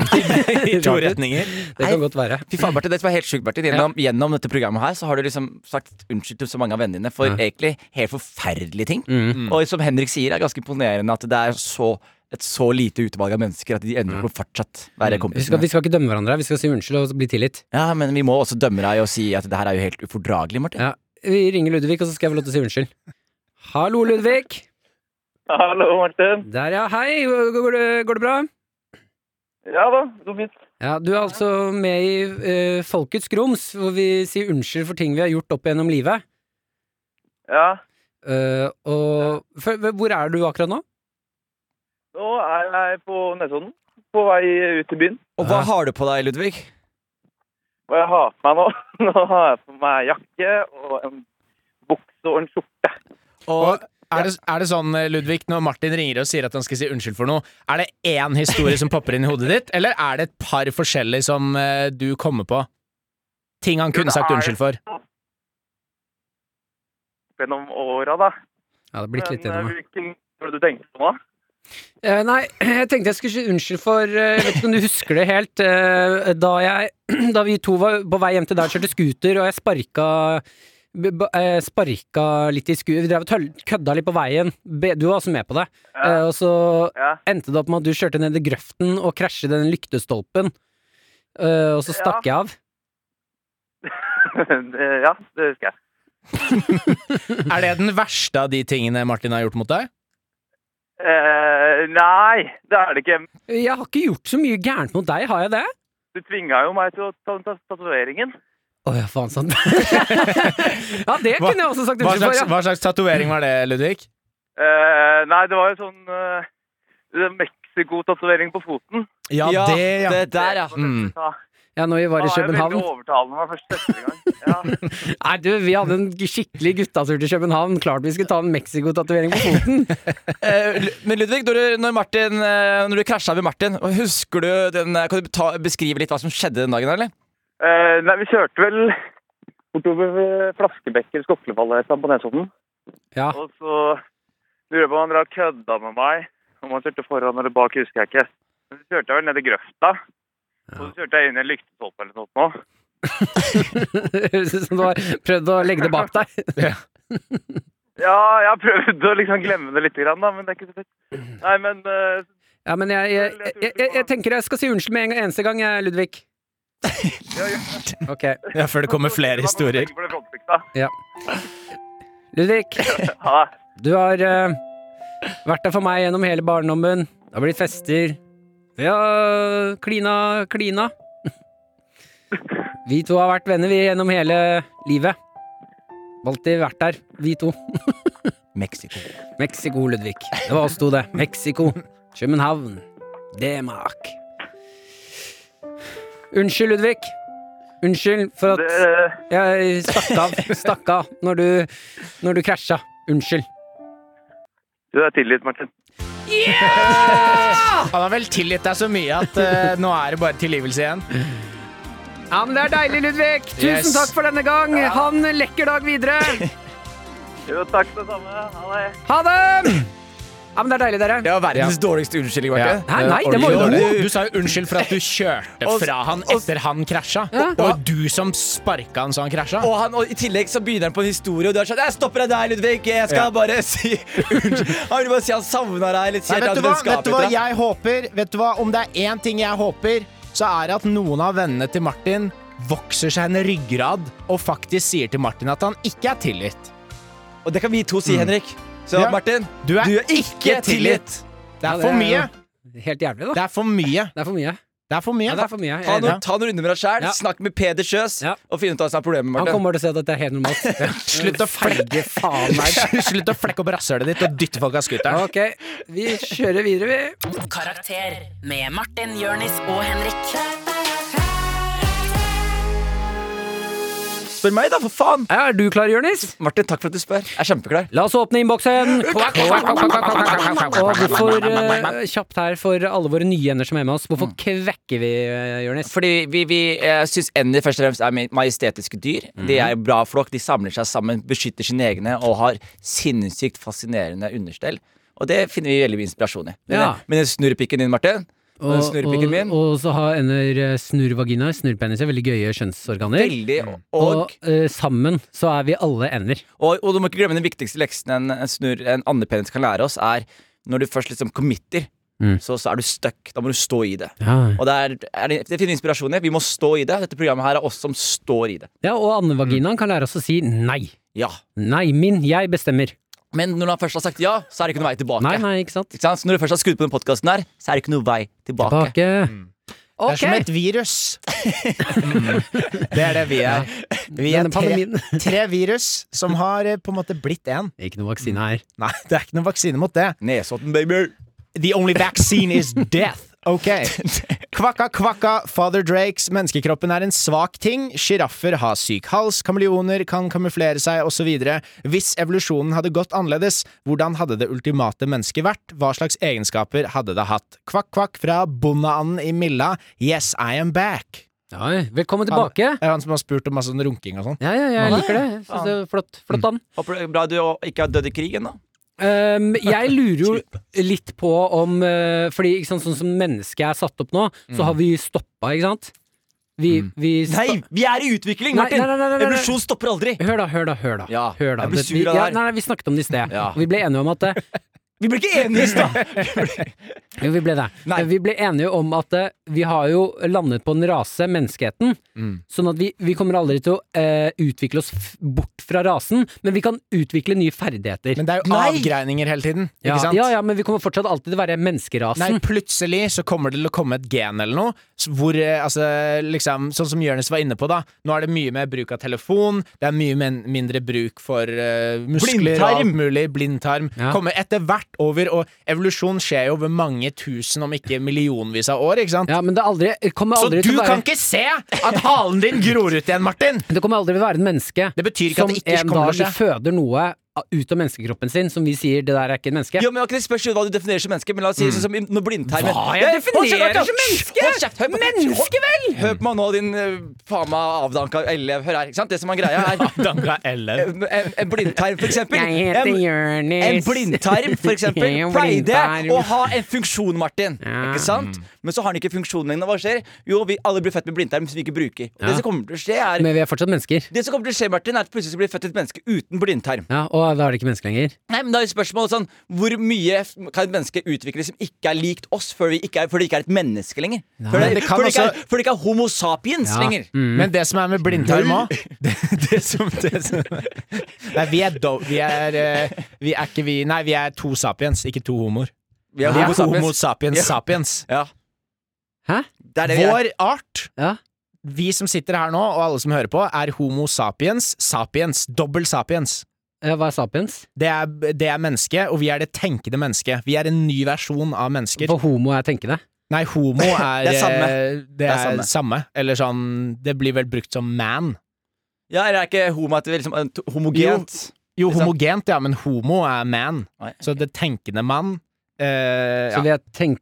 [SPEAKER 3] i to retninger?
[SPEAKER 4] Det kan godt være.
[SPEAKER 5] Fy faen, Bertil, det som er helt sjukt, Bertil gjennom, gjennom dette programmet her Så har du liksom sagt unnskyld til så mange av vennene dine for
[SPEAKER 4] Ja.
[SPEAKER 5] egentlig helt forferdelige ting.
[SPEAKER 4] Mm.
[SPEAKER 5] Og som Henrik sier, er ganske imponerende at det er så, et så lite utvalg av mennesker at de ender på å fortsatt være
[SPEAKER 4] Vi, skal,
[SPEAKER 5] kompiser.
[SPEAKER 4] Mm. vi skal ikke dømme hverandre, vi skal si unnskyld og bli tilgitt.
[SPEAKER 5] Ja, men vi må også dømme deg og si at det her er jo helt ufordragelig, Martin.
[SPEAKER 4] Ja. Vi ringer Ludvig, og så skal jeg få lov til å si unnskyld. Hallo, Ludvig.
[SPEAKER 6] Hallo, Martin.
[SPEAKER 4] Der, ja. Hei, går det, går det bra?
[SPEAKER 6] Ja da, det går fint.
[SPEAKER 4] Ja, Du er altså med i eh, Folkets grums, hvor vi sier unnskyld for ting vi har gjort opp gjennom livet.
[SPEAKER 6] Ja,
[SPEAKER 4] Eh, og for, Hvor er du akkurat nå?
[SPEAKER 6] nå er jeg på Nesodden. På vei ut i byen.
[SPEAKER 5] Og hva har du på deg, Ludvig?
[SPEAKER 6] Hva jeg har på meg nå? Nå [laughs] har jeg på meg jakke og en bukse og en skjorte.
[SPEAKER 5] Og
[SPEAKER 3] Og er det, er det sånn, Ludvig, når Martin ringer og sier at han skal si unnskyld for noe, er det én historie som popper inn i hodet ditt, eller er det et par forskjellige som eh, du kommer på? Ting han kunne sagt unnskyld for.
[SPEAKER 6] Gjennom åra, da.
[SPEAKER 4] Ja, det har blitt litt
[SPEAKER 6] Men,
[SPEAKER 4] gjennom
[SPEAKER 6] eh,
[SPEAKER 4] meg.
[SPEAKER 6] Hvilken var det du tenkte på nå?
[SPEAKER 4] Eh, nei, [clears throat] jeg tenkte jeg skulle si unnskyld for eh, Jeg vet ikke om du husker det helt. eh, da, jeg, [clears throat] da vi to var på vei hjem til deg og kjørte scooter, og jeg sparka b- b- eh, Sparka litt i sku... Vi drev og tøll- kødda litt på veien. Be- Du var også med på det. Eh, og så
[SPEAKER 6] Ja. [laughs]
[SPEAKER 4] endte det opp med at du kjørte ned i grøften og krasjet i den lyktestolpen. Eh, og så stakk jeg av.
[SPEAKER 6] Det- ja, det husker jeg.
[SPEAKER 3] Er det den verste av de tingene Martin har gjort mot deg?
[SPEAKER 6] Eh, nei, det er det ikke.
[SPEAKER 4] Jeg har ikke gjort så mye gærent mot deg, har jeg det?
[SPEAKER 6] Du tvinga jo meg til å ta den tatoveringen.
[SPEAKER 4] Å ja, faen sant. [laughs] ja, det
[SPEAKER 3] Hva-
[SPEAKER 4] kunne jeg også sagt
[SPEAKER 3] Hva
[SPEAKER 4] unnskyld for.
[SPEAKER 3] slags,
[SPEAKER 4] Ja.
[SPEAKER 3] hva slags tatovering var det, Ludvig?
[SPEAKER 6] Eh, nei, det var jo sånn uh, Mexico-tatovering på foten.
[SPEAKER 5] det der, ja.
[SPEAKER 3] Mm.
[SPEAKER 6] Ja.
[SPEAKER 4] ja, når vi var i
[SPEAKER 6] Ja, jeg er
[SPEAKER 4] København.
[SPEAKER 6] veldig overtalende meg først første gang. Ja.
[SPEAKER 4] Nei, du, vi hadde en skikkelig guttatur til København. Klart vi skulle ta en Mexico-tatovering på foten. [laughs]
[SPEAKER 5] Eh, Lu- Men Ludvig, når du, når Martin, eh, når du krasja med Martin, husker du den eh, Kan du ta, beskrive litt hva som skjedde den dagen, eller?
[SPEAKER 6] Eh, nei, vi kjørte vel bortover ved Flaskebekker, Skoklefall et eller annet på Nesodden.
[SPEAKER 4] Ja. [laughs]
[SPEAKER 6] Og så lurer jeg på om han drar kødda med meg. Om han kjørte foran eller bak, husker jeg ikke. Men så kjørte jeg vel ned i grøfta. Og så kjørte jeg inn i en lyktestolpe eller noe sånt nå.
[SPEAKER 4] Høres ut som du har prøvd å legge det bak
[SPEAKER 3] [laughs]
[SPEAKER 4] deg.
[SPEAKER 6] Ja, jeg har prøvd å liksom glemme det litt, grann, da, men det er ikke så fett. Nei, men eh,
[SPEAKER 4] Ja, men jeg, jeg, jeg, jeg, jeg tenker jeg skal si unnskyld med en gang- eneste gang,
[SPEAKER 3] [laughs]
[SPEAKER 4] jeg, Ludvig. Ok.
[SPEAKER 3] Ja, før det kommer flere historier.
[SPEAKER 6] ble frontfiksa.
[SPEAKER 4] Ludvig,
[SPEAKER 6] Ha det.
[SPEAKER 4] du har eh, vært der for meg gjennom hele barndommen. Det har blitt fester. Vi har klina, klina. Vi to har vært venner, vi, gjennom hele livet. Alltid vært der, vi to. [laughs]
[SPEAKER 5] Mexico.
[SPEAKER 4] Mexico, Ludvig. Det var oss to, det. Mexico. København. Demak. Unnskyld, Ludvig. Unnskyld for
[SPEAKER 6] det.
[SPEAKER 4] at jeg stakk av, stakk av når du, når du krasja. Unnskyld.
[SPEAKER 6] Du er tilgitt, Martin.
[SPEAKER 3] Han har vel tilgitt deg så mye at eh, nå er det bare tilgivelse igjen.
[SPEAKER 4] Ja, men Det er deilig, Ludvig. Tusen
[SPEAKER 3] Yes.
[SPEAKER 4] takk for denne gang. Ha en lekker dag videre.
[SPEAKER 6] Jo, takk det samme. Ha det.
[SPEAKER 4] Ha det! Ja, men Det er deilig, dere.
[SPEAKER 5] Det var verdens dårligste unnskyldning, Martin.
[SPEAKER 4] Hæ, nei, det var
[SPEAKER 3] Ordentlig
[SPEAKER 4] jo
[SPEAKER 3] dårlig.
[SPEAKER 4] dårlig.
[SPEAKER 3] Du sa jo unnskyld for at du kjørte
[SPEAKER 5] Og-
[SPEAKER 3] fra han
[SPEAKER 5] og-
[SPEAKER 3] etter han krasja. Det var jo du som sparka han så han krasja.
[SPEAKER 5] Og, han, og I tillegg så begynner han på en historie, og du er sånn Jeg stopper deg der, Ludvig. Jeg skal
[SPEAKER 3] Ja.
[SPEAKER 5] bare si unnskyld. Han vil bare si han savna deg. Litt,
[SPEAKER 3] Nei,
[SPEAKER 5] sier
[SPEAKER 3] vet,
[SPEAKER 5] at
[SPEAKER 3] du hva,
[SPEAKER 5] det skaper
[SPEAKER 3] vet du hva
[SPEAKER 5] etter deg.
[SPEAKER 3] jeg håper? Vet du hva, Om det er én ting jeg håper, så er det at noen av vennene til Martin vokser seg en ryggrad og faktisk sier til Martin at han ikke er tilgitt.
[SPEAKER 5] Og det kan vi to si, Henrik. Så
[SPEAKER 3] Ja.
[SPEAKER 5] Martin,
[SPEAKER 3] Du er
[SPEAKER 5] ikke tilgitt.
[SPEAKER 3] Det
[SPEAKER 4] Ja,
[SPEAKER 3] er
[SPEAKER 4] det
[SPEAKER 3] for
[SPEAKER 4] er jo-
[SPEAKER 3] mye.
[SPEAKER 4] Helt jævlig, da.
[SPEAKER 3] Det er for mye.
[SPEAKER 4] Det er for mye.
[SPEAKER 3] Det er for mye.
[SPEAKER 4] Ja, det er for mye.
[SPEAKER 5] Ta
[SPEAKER 4] Jeg er enig.
[SPEAKER 5] noen, ta noen runder med deg sjæl,
[SPEAKER 4] Ja.
[SPEAKER 5] snakk med Peder Kjøs,
[SPEAKER 4] Ja.
[SPEAKER 5] og finn ut hva som er problemet.
[SPEAKER 4] Han
[SPEAKER 5] Martin.
[SPEAKER 4] kommer til å se at dette er helt [laughs] normalt.
[SPEAKER 3] Slutt å flekke faen meg [laughs] Slutt å flekke opp rasshølet ditt og dytte folk av scooteren.
[SPEAKER 4] Ok, vi kjører videre, vi.
[SPEAKER 2] Karakter med Martin, Jørnis og Henrik.
[SPEAKER 5] Spør meg, da, for faen!
[SPEAKER 4] Er du klar, Jonis?
[SPEAKER 5] Martin, takk for at du spør. Jeg er kjempeklar.
[SPEAKER 4] La oss åpne innboksen! Kvakk, kvakk, kvakk, kvakk, kvakk, kvakk, kvakk. Mm. Og hvorfor, eh, kjapt her for alle våre nye ender som er med oss, hvorfor kvekker vi, eh, Jonis?
[SPEAKER 5] Fordi vi, vi eh, syns ender først og fremst er ma- majestetiske dyr. De
[SPEAKER 4] Mhm.
[SPEAKER 5] er en bra flokk, de samler seg sammen, beskytter sine egne og har sinnssykt fascinerende understell. Og det finner vi veldig mye inspirasjon i. Men,
[SPEAKER 4] Ja.
[SPEAKER 5] men snurrepikken din, Martin, og, den snurrepikken min,
[SPEAKER 4] og så har ender eh, snurrvaginaer, snurrpeniser, veldig gøye kjønnsorganer.
[SPEAKER 5] veldig og,
[SPEAKER 4] Og
[SPEAKER 5] og,
[SPEAKER 4] eh, sammen så er vi alle ender.
[SPEAKER 5] og, du må ikke glemme den viktigste leksen en, en, snurr- en andepenis kan lære oss, er når du først liksom committer,
[SPEAKER 4] Mm.
[SPEAKER 5] så, så er du stuck. Da må du stå i det.
[SPEAKER 4] Ja.
[SPEAKER 5] Og det, er, er, det- det finner inspirasjon i. Vi må stå i det. Dette programmet her er oss som står i det.
[SPEAKER 4] ja, og andevaginaen kan lære oss å si nei.
[SPEAKER 5] Ja.
[SPEAKER 4] Nei, min, jeg bestemmer.
[SPEAKER 5] Men når han først har sagt ja, så er det ikke noen vei tilbake.
[SPEAKER 4] Nei, nei, ikke sant?
[SPEAKER 5] Ikke sant? Så når du først har skrudd på den podkasten her, så er det ikke noen vei tilbake. Mm.
[SPEAKER 4] Tilbake.
[SPEAKER 3] Det er som
[SPEAKER 4] Ok.
[SPEAKER 3] et virus.
[SPEAKER 4] [laughs]
[SPEAKER 3] Det er det vi er. Vi er
[SPEAKER 4] Denne
[SPEAKER 3] tre,
[SPEAKER 4] pandemien.
[SPEAKER 3] tre virus som har eh, på en måte blitt én.
[SPEAKER 4] Ikke noe vaksine her.
[SPEAKER 3] Nei, det er ikke noen vaksine mot det.
[SPEAKER 5] Nesodden, baby!
[SPEAKER 3] The only vaccine is death. Ok. Kvakka, kvakka, Father Drakes. Menneskekroppen er en svak ting. Sjiraffer har syk hals. Kameleoner kan kamuflere seg, osv. Hvis evolusjonen hadde gått annerledes, hvordan hadde det ultimate mennesket vært? Hva slags egenskaper hadde det hatt? Kvakk, kvakk fra bondeanden i Milla. Yes, I am back.
[SPEAKER 4] Ja, velkommen tilbake.
[SPEAKER 3] Det er han som har spurt om masse sånn runking og sånn.
[SPEAKER 4] Ja, ja, jeg liker det. Jeg synes det er flott, flott an.
[SPEAKER 5] Håper det er bra du ikke har dødd i krigen, da.
[SPEAKER 4] Mm. Um, jeg lurer jo litt på om uh, Fordi ikke sant, sånn som mennesket er satt opp nå, så har vi stoppa, ikke sant? Vi, vi sto-
[SPEAKER 5] Mm. Nei, vi er i utvikling,
[SPEAKER 4] Nei,
[SPEAKER 5] Martin!
[SPEAKER 4] nei, nei, nei, nei, nei.
[SPEAKER 5] Evolusjon stopper aldri!
[SPEAKER 4] Hør da, hør da, hør da.
[SPEAKER 5] Ja,
[SPEAKER 4] hør da.
[SPEAKER 5] jeg blir
[SPEAKER 4] Det-
[SPEAKER 5] sur
[SPEAKER 4] vi,
[SPEAKER 5] av det her.
[SPEAKER 4] nei, nei, vi snakket om det i sted,
[SPEAKER 5] Ja.
[SPEAKER 4] og vi ble enige om at eh, [laughs]
[SPEAKER 5] Vi ble ikke enige i stad!
[SPEAKER 4] Jo, vi ble det.
[SPEAKER 5] Nei.
[SPEAKER 4] Vi ble enige om at eh, vi har jo landet på en rase, menneskeheten,
[SPEAKER 3] Mm.
[SPEAKER 4] sånn at vi, vi kommer aldri til å eh, utvikle oss f bort fra rasen, men vi kan utvikle nye ferdigheter.
[SPEAKER 3] Men det er jo
[SPEAKER 5] Nei.
[SPEAKER 3] avgreininger hele tiden.
[SPEAKER 4] ja,
[SPEAKER 3] Ikke sant?
[SPEAKER 4] ja, ja, men vi kommer fortsatt alltid til å være menneskerasen.
[SPEAKER 3] Nei, plutselig så kommer det til å komme et gen eller noe, s- hvor eh, altså liksom Sånn som Jonis var inne på, da. Nå er det mye mer bruk av telefon, det er mye men mindre bruk for eh, muskler og
[SPEAKER 5] Blindtarm!
[SPEAKER 3] alt mulig. Blindtarm.
[SPEAKER 4] Ja.
[SPEAKER 3] Kommer etter hvert over, og evolusjon skjer jo over mange tusen, om ikke millionvis av år, ikke sant?
[SPEAKER 4] Ja, men det er aldri, det kommer
[SPEAKER 3] Så
[SPEAKER 4] aldri
[SPEAKER 3] du
[SPEAKER 4] til å være
[SPEAKER 3] kan ikke se at halen din gror ut igjen, Martin!
[SPEAKER 4] Det kommer aldri til å være et menneske
[SPEAKER 3] Det betyr ikke
[SPEAKER 4] som
[SPEAKER 3] at det ikke
[SPEAKER 4] en
[SPEAKER 3] kommer
[SPEAKER 4] dag
[SPEAKER 3] til å skje.
[SPEAKER 4] føder noe ut av menneskekroppen sin, som vi sier 'det der er ikke et menneske'.
[SPEAKER 5] Jo, men ok, Det spørs jo hva du definerer som menneske, men la oss si sånn som i- når
[SPEAKER 4] Mm.
[SPEAKER 5] blindtarmen
[SPEAKER 4] Hva jeg
[SPEAKER 5] Eh, hold kjeft,
[SPEAKER 4] definerer
[SPEAKER 5] hold kjeft!
[SPEAKER 4] som menneske?
[SPEAKER 5] Hold kjeft, hør på-
[SPEAKER 4] Menneske, vel!
[SPEAKER 5] Hør på meg nå, din eh, faen meg avdanka elev. Hør her, ikke sant? Det som er greia, er
[SPEAKER 4] [laughs]
[SPEAKER 3] Danka Ellen.
[SPEAKER 5] en, en- en blindtarm, for eksempel.
[SPEAKER 4] Jeg heter
[SPEAKER 5] En-
[SPEAKER 4] Jonis.
[SPEAKER 5] En blindtarm, for eksempel,
[SPEAKER 4] [laughs] Jeg er en
[SPEAKER 5] pleide
[SPEAKER 4] blindtarm.
[SPEAKER 5] å ha en funksjon, Martin.
[SPEAKER 4] Ja.
[SPEAKER 5] Ikke sant? Men så har den ikke funksjonen lenger. og Hva skjer? Jo, vi alle blir født med blindtarm som vi ikke bruker. Og
[SPEAKER 4] Ja.
[SPEAKER 5] det som kommer til å skje, er
[SPEAKER 4] Men vi er fortsatt mennesker.
[SPEAKER 5] det som kommer til å skje, Martin, er at plutselig så blir det født et menneske uten blindtarm.
[SPEAKER 4] Ja, Og da er det ikke mennesker lenger.
[SPEAKER 5] Nei, men da er spørsmålet sånn Hvor mye f- kan et menneske utvikle som ikke er likt oss, før, vi ikke er, før det ikke er et menneske lenger? Før
[SPEAKER 3] Men
[SPEAKER 5] det,
[SPEAKER 3] det kan
[SPEAKER 5] før det, ikke,
[SPEAKER 3] også-
[SPEAKER 5] er, før det ikke er Homo sapiens
[SPEAKER 4] Ja.
[SPEAKER 3] [laughs]
[SPEAKER 5] lenger.
[SPEAKER 3] Men det som er med blindtarm òg [laughs] det, det som, det som Nei, vi er, do, vi, er eh, vi er ikke vi Nei, vi er to sapiens, ikke to homoer.
[SPEAKER 5] Vi er
[SPEAKER 3] Vi
[SPEAKER 5] Homo
[SPEAKER 3] er
[SPEAKER 5] sapiens.
[SPEAKER 3] homo sapiens
[SPEAKER 5] Ja.
[SPEAKER 3] sapiens.
[SPEAKER 5] Ja,
[SPEAKER 4] Hæ?
[SPEAKER 5] det er det vi er.
[SPEAKER 3] Vår art,
[SPEAKER 4] Ja.
[SPEAKER 3] vi som sitter her nå, og alle som hører på, er homo sapiens sapiens. Dobbel sapiens.
[SPEAKER 4] Ja, eh, Hva er sapiens?
[SPEAKER 3] Det er, det er mennesket, og vi er det tenkende mennesket. Vi er en ny versjon av mennesker.
[SPEAKER 4] For homo er tenkende.
[SPEAKER 3] Nei,
[SPEAKER 5] [laughs]
[SPEAKER 3] homo er
[SPEAKER 5] Det er samme.
[SPEAKER 3] eh, Det
[SPEAKER 5] er
[SPEAKER 3] er samme. Eller sånn Det blir vel brukt som man.
[SPEAKER 5] Ja, eller er ikke homo et liksom, et homogent?
[SPEAKER 3] Jo,
[SPEAKER 5] Ikke sant?
[SPEAKER 3] homogent, ja, men homo er man.
[SPEAKER 5] Nei.
[SPEAKER 3] Så det tenkende mann eh,
[SPEAKER 4] Så
[SPEAKER 3] ja.
[SPEAKER 4] vi er tenk...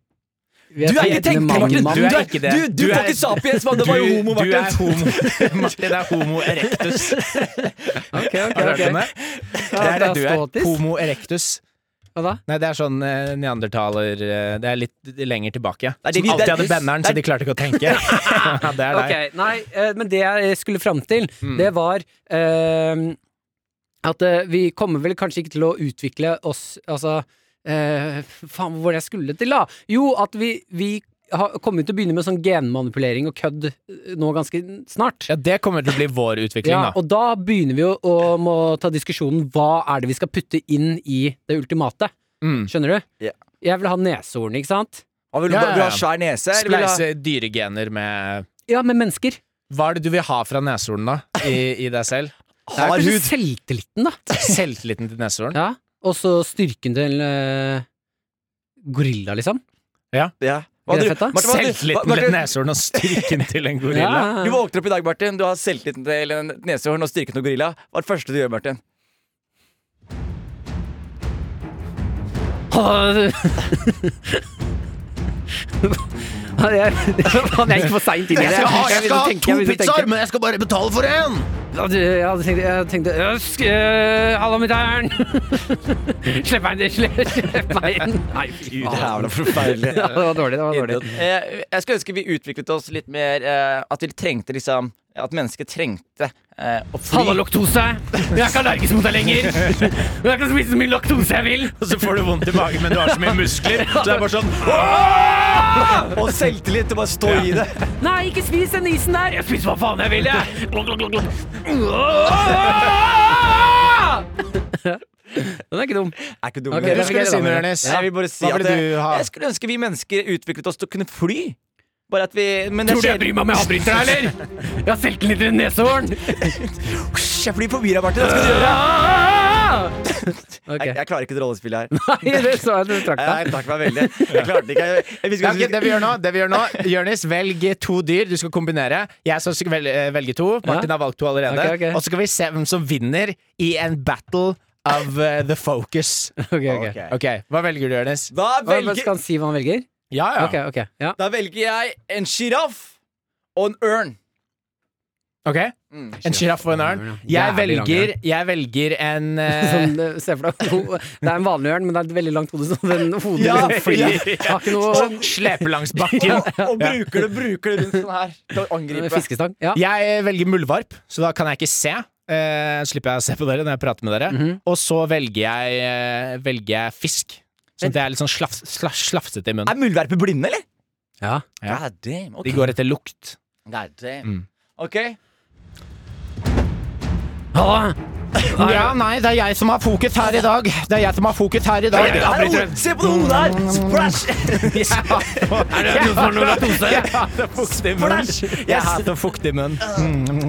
[SPEAKER 4] Vi
[SPEAKER 5] Du er ikke tenkende, Martin!
[SPEAKER 3] mann.
[SPEAKER 5] Du
[SPEAKER 3] Du
[SPEAKER 5] er
[SPEAKER 3] er
[SPEAKER 5] ikke
[SPEAKER 3] ikke
[SPEAKER 5] det.
[SPEAKER 3] det.
[SPEAKER 5] Du, du,
[SPEAKER 3] Du
[SPEAKER 5] var
[SPEAKER 3] er-
[SPEAKER 5] ikke sapiens, mann! Det var jo homo,
[SPEAKER 3] du er
[SPEAKER 5] Martin!
[SPEAKER 3] homo. [laughs] Martin er
[SPEAKER 5] [laughs]
[SPEAKER 3] homo erectus.
[SPEAKER 4] Ok, ok,
[SPEAKER 3] Har du
[SPEAKER 4] ok.
[SPEAKER 3] hørt om det?
[SPEAKER 4] Ja,
[SPEAKER 3] Det er det du
[SPEAKER 4] statis.
[SPEAKER 3] er. Homo erectus.
[SPEAKER 4] Hva da?
[SPEAKER 3] Nei, det er sånn eh, neandertaler eh, Det er litt lenger tilbake.
[SPEAKER 5] er det
[SPEAKER 3] Som
[SPEAKER 5] vi-
[SPEAKER 3] alltid
[SPEAKER 5] det er-
[SPEAKER 3] hadde benderen, så de klarte ikke å tenke. Ja, det er
[SPEAKER 4] Ok,
[SPEAKER 3] deg. Mm.
[SPEAKER 4] nei, eh, men det jeg skulle fram til, det var ehm, at eh, vi kommer vel kanskje ikke til å utvikle oss Altså, eh, faen, hvor var det jeg skulle til, da? Jo, at vi, vi har- kommer til å begynne med sånn genmanipulering og kødd eh, nå ganske snart.
[SPEAKER 3] Ja, det kommer til å bli vår utvikling,
[SPEAKER 4] Ja,
[SPEAKER 3] da.
[SPEAKER 4] og da begynner vi å, å må ta diskusjonen hva er det vi skal putte inn i det ultimate.
[SPEAKER 3] Mm.
[SPEAKER 4] Skjønner du?
[SPEAKER 5] Ja.
[SPEAKER 4] Jeg vil ha neshorn, ikke sant?
[SPEAKER 5] Hva vil du
[SPEAKER 3] Ja, ja,
[SPEAKER 5] vil du ha
[SPEAKER 3] ja.
[SPEAKER 5] svær nese? eller vil du ha-
[SPEAKER 3] Spleise dyregener med
[SPEAKER 4] Ja, med mennesker.
[SPEAKER 3] Hva er det du vil ha fra neshorn, da? I, i deg selv?
[SPEAKER 4] Det er
[SPEAKER 5] Hard
[SPEAKER 4] kanskje
[SPEAKER 5] hud.
[SPEAKER 4] selvtilliten, da.
[SPEAKER 3] Selvtilliten til neshorn?
[SPEAKER 4] Ja. Og så styrken til eh, gorilla, liksom.
[SPEAKER 5] Ja. Hva hadde
[SPEAKER 4] Grefett, da?
[SPEAKER 5] du- Martin, hva hadde du-
[SPEAKER 3] Selvtilliten
[SPEAKER 5] Martin,
[SPEAKER 3] til neshorn og styrken til en gorilla?
[SPEAKER 5] Du våkner opp i dag, Martin. Du har selvtilliten til en nesehorn og styrken til en gorilla. Hva er det første du gjør, Martin?
[SPEAKER 3] Ah.
[SPEAKER 4] Han er, han er ikke for seint inn i det. begynte å tenke- jeg begynte å tenke.
[SPEAKER 3] men jeg skal bare betale for én!
[SPEAKER 4] Ja, du, Jeg hadde tenkt, jeg tenkte Øsk, øh, halla mitt ærn! [laughs] Slipp meg inn! Slipp, slipp meg inn! Nei, fy faen.
[SPEAKER 3] [laughs]
[SPEAKER 5] forferdelig.
[SPEAKER 4] Ja, det var dårlig. det var dårlig
[SPEAKER 5] Eh, jeg skulle ønske vi utviklet oss litt mer eh, At vi trengte liksom At mennesket trengte eh, å
[SPEAKER 4] Halla,
[SPEAKER 5] fly.
[SPEAKER 4] laktose! Jeg er ikke allergisk mot deg lenger! Og jeg kan spise så mye laktose jeg vil!
[SPEAKER 3] Og så får du vondt i magen, men du har så mye muskler. Så det er bare sånn
[SPEAKER 5] Og selvtillit til å bare stå i det.
[SPEAKER 4] Nei, ikke spis den isen der! Jeg spiser hva faen jeg vil, jeg! [laughs] Den er ikke dum.
[SPEAKER 5] Er ikke dum.
[SPEAKER 4] Ok,
[SPEAKER 5] det.
[SPEAKER 3] Du
[SPEAKER 4] det
[SPEAKER 3] skulle si noe, Jonis.
[SPEAKER 5] Ja, jeg vil bare si
[SPEAKER 3] Hva
[SPEAKER 5] at
[SPEAKER 3] ville
[SPEAKER 5] jeg,
[SPEAKER 3] du ha?
[SPEAKER 5] jeg skulle ønske vi mennesker utviklet oss til å kunne fly. Bare at vi men det
[SPEAKER 4] Tror du jeg
[SPEAKER 5] skjer-
[SPEAKER 4] bryr meg om jeg avbryter deg, eller? Jeg har selvtillit i neshorn!
[SPEAKER 5] Hysj, Jeg flyr forbi deg, Martin. Hva skal du gjøre?
[SPEAKER 4] [laughs] Ok.
[SPEAKER 5] Jeg, jeg klarer ikke det rollespillet her.
[SPEAKER 4] [laughs] Nei, det så jeg du trakk
[SPEAKER 5] Nei,
[SPEAKER 4] deg.
[SPEAKER 5] takk meg veldig. Jeg klarte ikke. Jeg, jeg, visste
[SPEAKER 3] Ja,
[SPEAKER 5] ikke
[SPEAKER 3] ok, det vi gjør nå, det vi gjør
[SPEAKER 4] [laughs]
[SPEAKER 3] nå Jørnis, velg to dyr du skal kombinere. Jeg skal vel- eh, velge to. Martin har valgt to allerede.
[SPEAKER 4] Ok, ok.
[SPEAKER 3] Og så skal vi se hvem som vinner i en battle of eh, the focus.
[SPEAKER 4] Ok, ok.
[SPEAKER 5] Ok.
[SPEAKER 3] Ok, Hva velger du, Jørnis?
[SPEAKER 5] Da
[SPEAKER 4] Hva- hva
[SPEAKER 5] velger,
[SPEAKER 4] Skal han si hva han velger?
[SPEAKER 3] Ja, ja.
[SPEAKER 4] Ok, ok. Ja.
[SPEAKER 5] da velger jeg en sjiraff og en ørn. Mm.
[SPEAKER 3] Ok, En sjiraff og en ørn. Jeg
[SPEAKER 4] Jævlig lang
[SPEAKER 3] velger, jeg velger
[SPEAKER 4] [laughs]
[SPEAKER 3] en eh,
[SPEAKER 4] Sånn, eh, se for deg ho- Det er en vanlig ørn, men det er et veldig langt hode, så den hodet
[SPEAKER 5] Ja,
[SPEAKER 4] liksom [laughs] flyr. Har ikke noe
[SPEAKER 3] Sånn slepe langs
[SPEAKER 4] [laughs]
[SPEAKER 3] bakken.
[SPEAKER 5] Og bruker det, bruker det rundt sånn her til å angripe.
[SPEAKER 4] fiskestang. Ja.
[SPEAKER 3] Jeg velger muldvarp, så da kan jeg ikke se. Eh, slipper jeg å se på dere når jeg prater med dere.
[SPEAKER 4] Mhm.
[SPEAKER 3] Og så velger jeg, eh, velger jeg fisk. Sånn at jeg er litt sånn slafs, sla, slafsete i munnen.
[SPEAKER 5] Er muldvarper blinde, eller?
[SPEAKER 4] Ja.
[SPEAKER 3] Ja.
[SPEAKER 5] God damn.
[SPEAKER 3] De
[SPEAKER 5] Okay.
[SPEAKER 3] går etter lukt.
[SPEAKER 5] God damn.
[SPEAKER 3] Mm.
[SPEAKER 5] Ok.
[SPEAKER 4] Halla!
[SPEAKER 3] Ja, nei, det er jeg som har fokus her i dag. Det er jeg som har fokus her i dag. [laughs]
[SPEAKER 5] Her er hodet. Se på det hodet her! Splash!
[SPEAKER 4] Er det noen som har noe laktose?
[SPEAKER 3] Jeg hater fukt i munnen.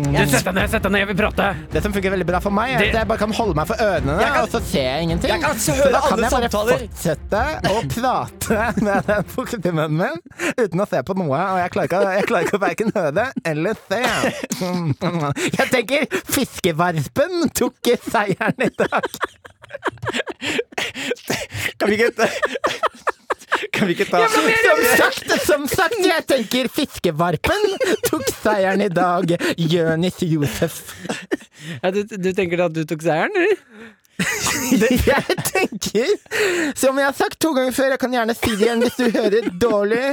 [SPEAKER 4] Du, Sett deg ned, sett deg ned, jeg vil prate.
[SPEAKER 3] Det som fungerer veldig bra for meg, er
[SPEAKER 4] Det-
[SPEAKER 3] at jeg bare kan holde meg for ørene,
[SPEAKER 5] Jeg kan-
[SPEAKER 3] og så ser jeg ingenting.
[SPEAKER 5] Jeg kan
[SPEAKER 3] så
[SPEAKER 5] høre
[SPEAKER 3] da kan
[SPEAKER 5] alle
[SPEAKER 3] jeg bare
[SPEAKER 5] samtaler.
[SPEAKER 3] fortsette å
[SPEAKER 5] [laughs]
[SPEAKER 3] prate med den fukten i munnen min uten å se på noe, og jeg klarer ikke, jeg klarer ikke å verken høre det eller se.
[SPEAKER 5] [laughs]
[SPEAKER 3] Jeg tenker fiskevarpen tok seieren i dag.
[SPEAKER 5] Kan vi ikke Kan vi ikke ta
[SPEAKER 3] Som sagt, som sagt, jeg tenker fiskevarpen tok seieren i dag. Jonis Josef.
[SPEAKER 4] Ja, du, du tenker at du tok seieren, eller?
[SPEAKER 3] [laughs] Jeg tenker, som jeg har sagt to ganger før, jeg kan gjerne si det igjen hvis du hører dårlig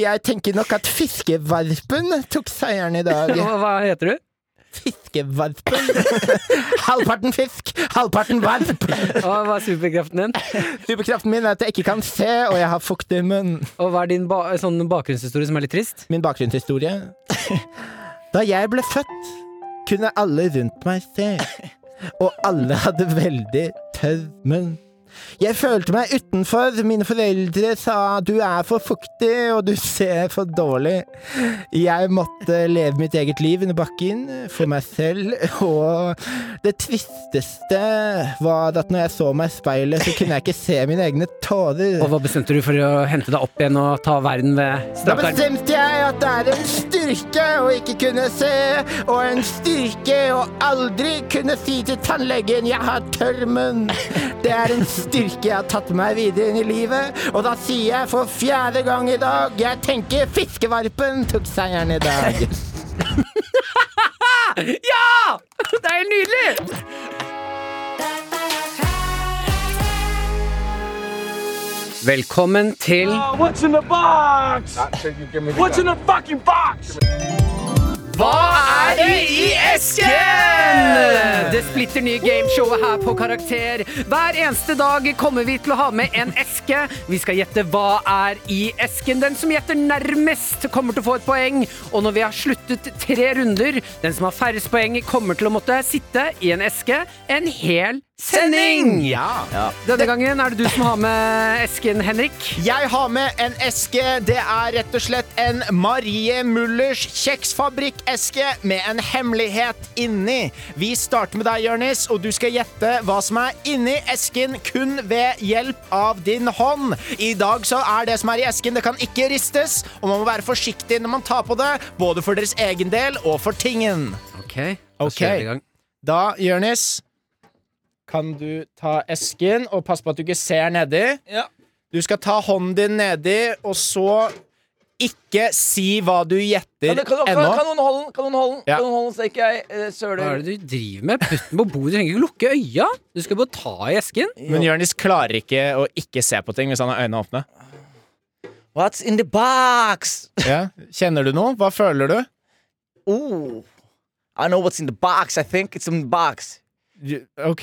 [SPEAKER 3] Jeg tenker nok at fiskevarpen tok seieren i dag.
[SPEAKER 4] Hva, hva heter du?
[SPEAKER 3] Fiskevarpen. [laughs] Halvparten fisk, halvparten varp.
[SPEAKER 4] Og hva er superkraften din?
[SPEAKER 3] Superkraften min er at jeg ikke kan se, og jeg har fukt i munnen.
[SPEAKER 4] Og hva er din ba sånn bakgrunnshistorie som er litt trist?
[SPEAKER 3] Min bakgrunnshistorie. Da jeg ble født, kunne alle rundt meg se. Og alle hadde veldig tørr munn. Jeg følte meg utenfor. Mine foreldre sa 'du er for fuktig, og du ser for dårlig'. Jeg måtte leve mitt eget liv under bakken, for meg selv, og det tristeste var at når jeg så meg i speilet, så kunne jeg ikke se mine egne tårer.
[SPEAKER 4] Og hva bestemte du for å hente deg opp igjen og ta verden ved
[SPEAKER 3] Da
[SPEAKER 4] strak arm?
[SPEAKER 3] bestemte jeg at det er en styrke å ikke kunne se, og en styrke å aldri kunne si til tannlegen 'jeg har tørr munn'. Det er en styrke jeg har tatt med meg videre inn i livet, og da sier jeg for fjerde gang i dag 'jeg tenker fiskevarpen tok seieren i dag'.
[SPEAKER 4] Ja! Det er helt nydelig! Velkommen til
[SPEAKER 7] What's in the box? What's in the fucking box?
[SPEAKER 4] Hva er det i esken? Det splitter nye gameshowet her på Karakter. Hver eneste dag kommer vi til å ha med en eske. Vi skal gjette hva er i esken. Den som gjetter nærmest, kommer til å få et poeng. Og når vi har sluttet tre runder, den som har færrest poeng, kommer til å måtte sitte i en eske en hel sending!
[SPEAKER 3] Ja.
[SPEAKER 4] Denne gangen er det du som har med esken, Henrik.
[SPEAKER 3] Jeg har med en eske. Det er rett og slett en Marie Mullers kjeksfabrikkeske med en hemmelighet inni. Vi starter med deg, Jørnis, og du skal gjette hva som er inni esken kun ved hjelp av din hånd. I dag så er det som er i esken, det kan ikke ristes, og man må være forsiktig når man tar på det, både for deres egen del og for tingen.
[SPEAKER 4] Ok,
[SPEAKER 3] Ok. kjører vi i gang. Da, Jørnis, kan du ta esken og passe på at du ikke ser nedi. Du skal ta hånden din nedi, og så ikke si hva du gjetter
[SPEAKER 5] Kan, kan, kan, kan
[SPEAKER 3] ennå.
[SPEAKER 5] noen holde den? Kan noen holde den?
[SPEAKER 3] Ja.
[SPEAKER 5] Kan noen holde den så ikke jeg eh, søler?
[SPEAKER 4] Hva er det du driver med? Putt den på bordet, du trenger ikke lukke øya. Du skal bare ta i esken.
[SPEAKER 3] Men Jonis klarer ikke å ikke se på ting hvis han har øynene åpne.
[SPEAKER 5] What's in the box?
[SPEAKER 3] Ja. Kjenner du noe? Hva føler du?
[SPEAKER 5] Ooh. I know what's in the box, I think. It's in the box.
[SPEAKER 3] Du- OK.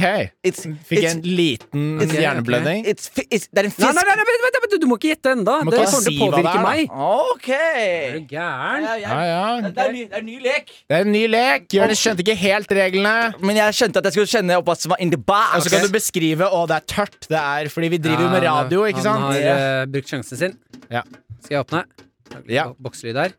[SPEAKER 5] It's,
[SPEAKER 3] Fikk
[SPEAKER 5] it's,
[SPEAKER 3] en liten
[SPEAKER 4] Ok, ok.
[SPEAKER 3] hjerneblødning.
[SPEAKER 5] it's, fi- it's, det er en fisk.
[SPEAKER 4] Nei, nei, nei, nei, vent, vent, vent, du må ikke gjette ennå.
[SPEAKER 3] Du må
[SPEAKER 4] Det
[SPEAKER 3] ikke
[SPEAKER 4] kommer
[SPEAKER 3] si
[SPEAKER 4] til å
[SPEAKER 3] hva det
[SPEAKER 4] påvirke
[SPEAKER 3] er, da.
[SPEAKER 4] meg.
[SPEAKER 5] OK.
[SPEAKER 4] Er du
[SPEAKER 5] Ja,
[SPEAKER 4] gæren?
[SPEAKER 5] jeg-
[SPEAKER 3] Ja, ja.
[SPEAKER 5] Det er, ny, det er ny lek.
[SPEAKER 3] Det er en ny lek. Jonis skjønte ikke helt reglene.
[SPEAKER 5] Men jeg skjønte at jeg skulle kjenne opp hva som var in the box.
[SPEAKER 3] Og så kan du beskrive å, det er tørt. Det er fordi vi driver jo med radio, ikke
[SPEAKER 4] Han
[SPEAKER 3] sant?
[SPEAKER 4] har eh, brukt sjansen sin.
[SPEAKER 3] Ja.
[SPEAKER 4] Skal jeg åpne? Lag litt
[SPEAKER 3] Ja.
[SPEAKER 4] bo- Bokslyd her.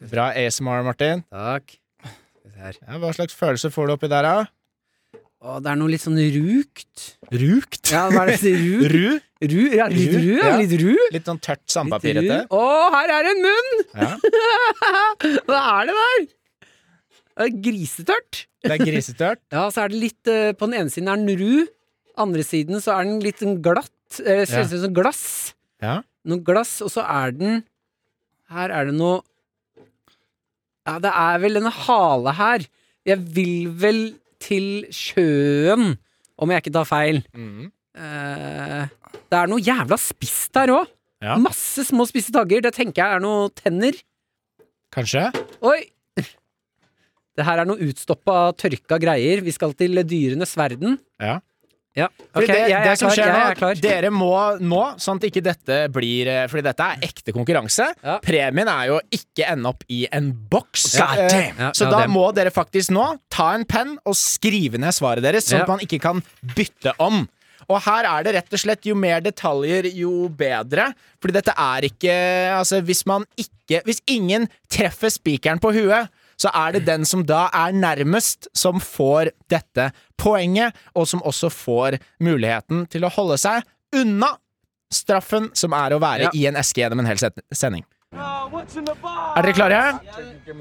[SPEAKER 3] Bra ASMR, Martin.
[SPEAKER 4] Takk. Skal vi se her.
[SPEAKER 3] Ja, hva slags følelse får du oppi der, da?
[SPEAKER 4] Å, det er noe litt sånn rukt.
[SPEAKER 3] Rukt?
[SPEAKER 4] Ja, hva er det? Ru?
[SPEAKER 3] Ru?
[SPEAKER 4] Ru? Ja, litt
[SPEAKER 3] Ru,
[SPEAKER 4] ru, ja.
[SPEAKER 3] ja.
[SPEAKER 4] Litt ru.
[SPEAKER 3] Litt sånn tørt
[SPEAKER 4] Litt
[SPEAKER 3] sandpapirete.
[SPEAKER 4] ru. Å, her er en munn!
[SPEAKER 3] Ja.
[SPEAKER 4] [laughs] Hva er det der? Det er Grisetørt.
[SPEAKER 3] Det er grisetørt.
[SPEAKER 4] Ja, så er det litt eh, På den ene siden er den ru, andre siden så er den litt sånn glatt. eh, Ser ut som glass.
[SPEAKER 3] Ja.
[SPEAKER 4] Noe glass, og så er den Her er det noe Ja, det er vel en hale her. Jeg vil vel til sjøen, om jeg ikke tar feil.
[SPEAKER 3] Mm.
[SPEAKER 4] Eh, det er noe jævla spisst her òg.
[SPEAKER 3] Ja.
[SPEAKER 4] Masse små spisse tagger. Det tenker jeg er noe tenner.
[SPEAKER 3] Kanskje?
[SPEAKER 4] Oi! Det her er noe utstoppa, tørka greier. Vi skal til dyrenes verden.
[SPEAKER 3] Ja.
[SPEAKER 4] Ja,
[SPEAKER 3] Fordi
[SPEAKER 4] ok,
[SPEAKER 3] det,
[SPEAKER 4] jeg,
[SPEAKER 3] det
[SPEAKER 4] er
[SPEAKER 3] som
[SPEAKER 4] klar,
[SPEAKER 3] skjer
[SPEAKER 4] jeg,
[SPEAKER 3] nå,
[SPEAKER 4] er klar.
[SPEAKER 3] dere må nå, sånn at ikke dette blir eh, Fordi dette er ekte konkurranse.
[SPEAKER 4] Ja.
[SPEAKER 3] Premien er jo å ikke ende opp i en boks.
[SPEAKER 5] God
[SPEAKER 3] Eh,
[SPEAKER 5] damn.
[SPEAKER 4] Ja,
[SPEAKER 3] Så
[SPEAKER 4] ja,
[SPEAKER 3] da
[SPEAKER 4] det-
[SPEAKER 3] må dere faktisk nå ta en penn og skrive ned svaret deres, sånn
[SPEAKER 4] Ja.
[SPEAKER 3] at man ikke kan bytte om. Og her er det rett og slett jo mer detaljer, jo bedre. Fordi dette er ikke Altså, hvis man ikke Hvis ingen treffer spikeren på huet, så er det den som da er nærmest, som får dette poenget, og som også får muligheten til å holde seg unna straffen som er å være
[SPEAKER 4] Ja.
[SPEAKER 3] i en eske gjennom en hel set- sending.
[SPEAKER 7] Uh, What's in the box?
[SPEAKER 3] Er dere klare?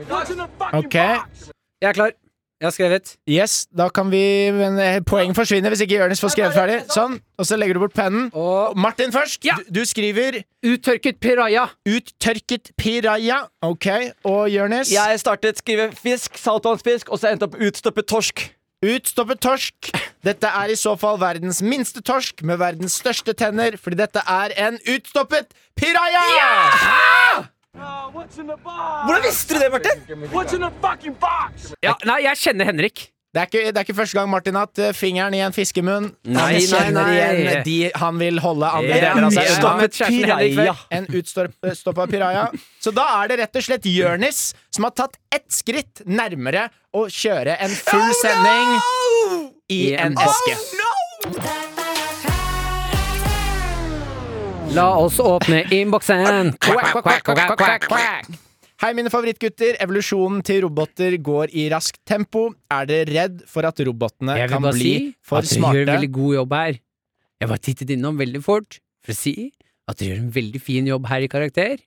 [SPEAKER 7] What's in the fucking
[SPEAKER 3] Ok.
[SPEAKER 7] box?
[SPEAKER 4] Jeg er klar. Jeg har skrevet.
[SPEAKER 3] Yes, da kan vi men eh, Poeng forsvinner hvis ikke Jonis får skrevet ferdig. Sånn, Og så legger du bort pennen.
[SPEAKER 4] Og
[SPEAKER 3] Martin først.
[SPEAKER 4] Ja.
[SPEAKER 3] Du, du skriver
[SPEAKER 4] uttørket piraya.
[SPEAKER 3] 'uttørket piraya'. Ok, og Jonis?
[SPEAKER 5] Jeg startet skrive fisk, saltvannsfisk, og så endte jeg opp utstoppet torsk.
[SPEAKER 3] Utstoppet torsk. Dette er i så fall verdens minste torsk med verdens største tenner, fordi dette er en utstoppet piraya!
[SPEAKER 7] Uh, What's in the box?
[SPEAKER 5] Hvordan visste du det, Martin?
[SPEAKER 7] What's in the fucking box?
[SPEAKER 4] Ja, nei, jeg kjenner Henrik.
[SPEAKER 3] Det, er ikke, det er ikke første gang Martin har hatt eh, fingeren i en fiskemunn.
[SPEAKER 4] Nei,
[SPEAKER 3] han kjenner
[SPEAKER 4] nei, nei.
[SPEAKER 3] igjen de han vil holde andre
[SPEAKER 4] Jeg
[SPEAKER 3] deler av seg
[SPEAKER 4] har
[SPEAKER 3] unna.
[SPEAKER 4] møtt kjæresten Henrik før.
[SPEAKER 5] piraya.
[SPEAKER 3] En utstoppa piraya. Så da er det rett og slett Jørnis som har tatt ett skritt nærmere å kjøre en full sending i
[SPEAKER 4] Oh, I en
[SPEAKER 3] en Oh, eske.
[SPEAKER 4] La oss åpne
[SPEAKER 5] [laughs]
[SPEAKER 4] innboksen. Quack, quack, quack, quack, quack.
[SPEAKER 3] Hei, mine favorittgutter. Evolusjonen til roboter går i raskt tempo. Er dere redd for at robotene
[SPEAKER 4] Jeg vil
[SPEAKER 3] kan
[SPEAKER 4] bare
[SPEAKER 3] bli
[SPEAKER 4] si
[SPEAKER 3] for
[SPEAKER 4] at dere gjør en
[SPEAKER 3] smarte?
[SPEAKER 4] veldig god jobb her. Jeg bare tittet innom veldig fort for å si at dere gjør en veldig fin jobb her i Karakter.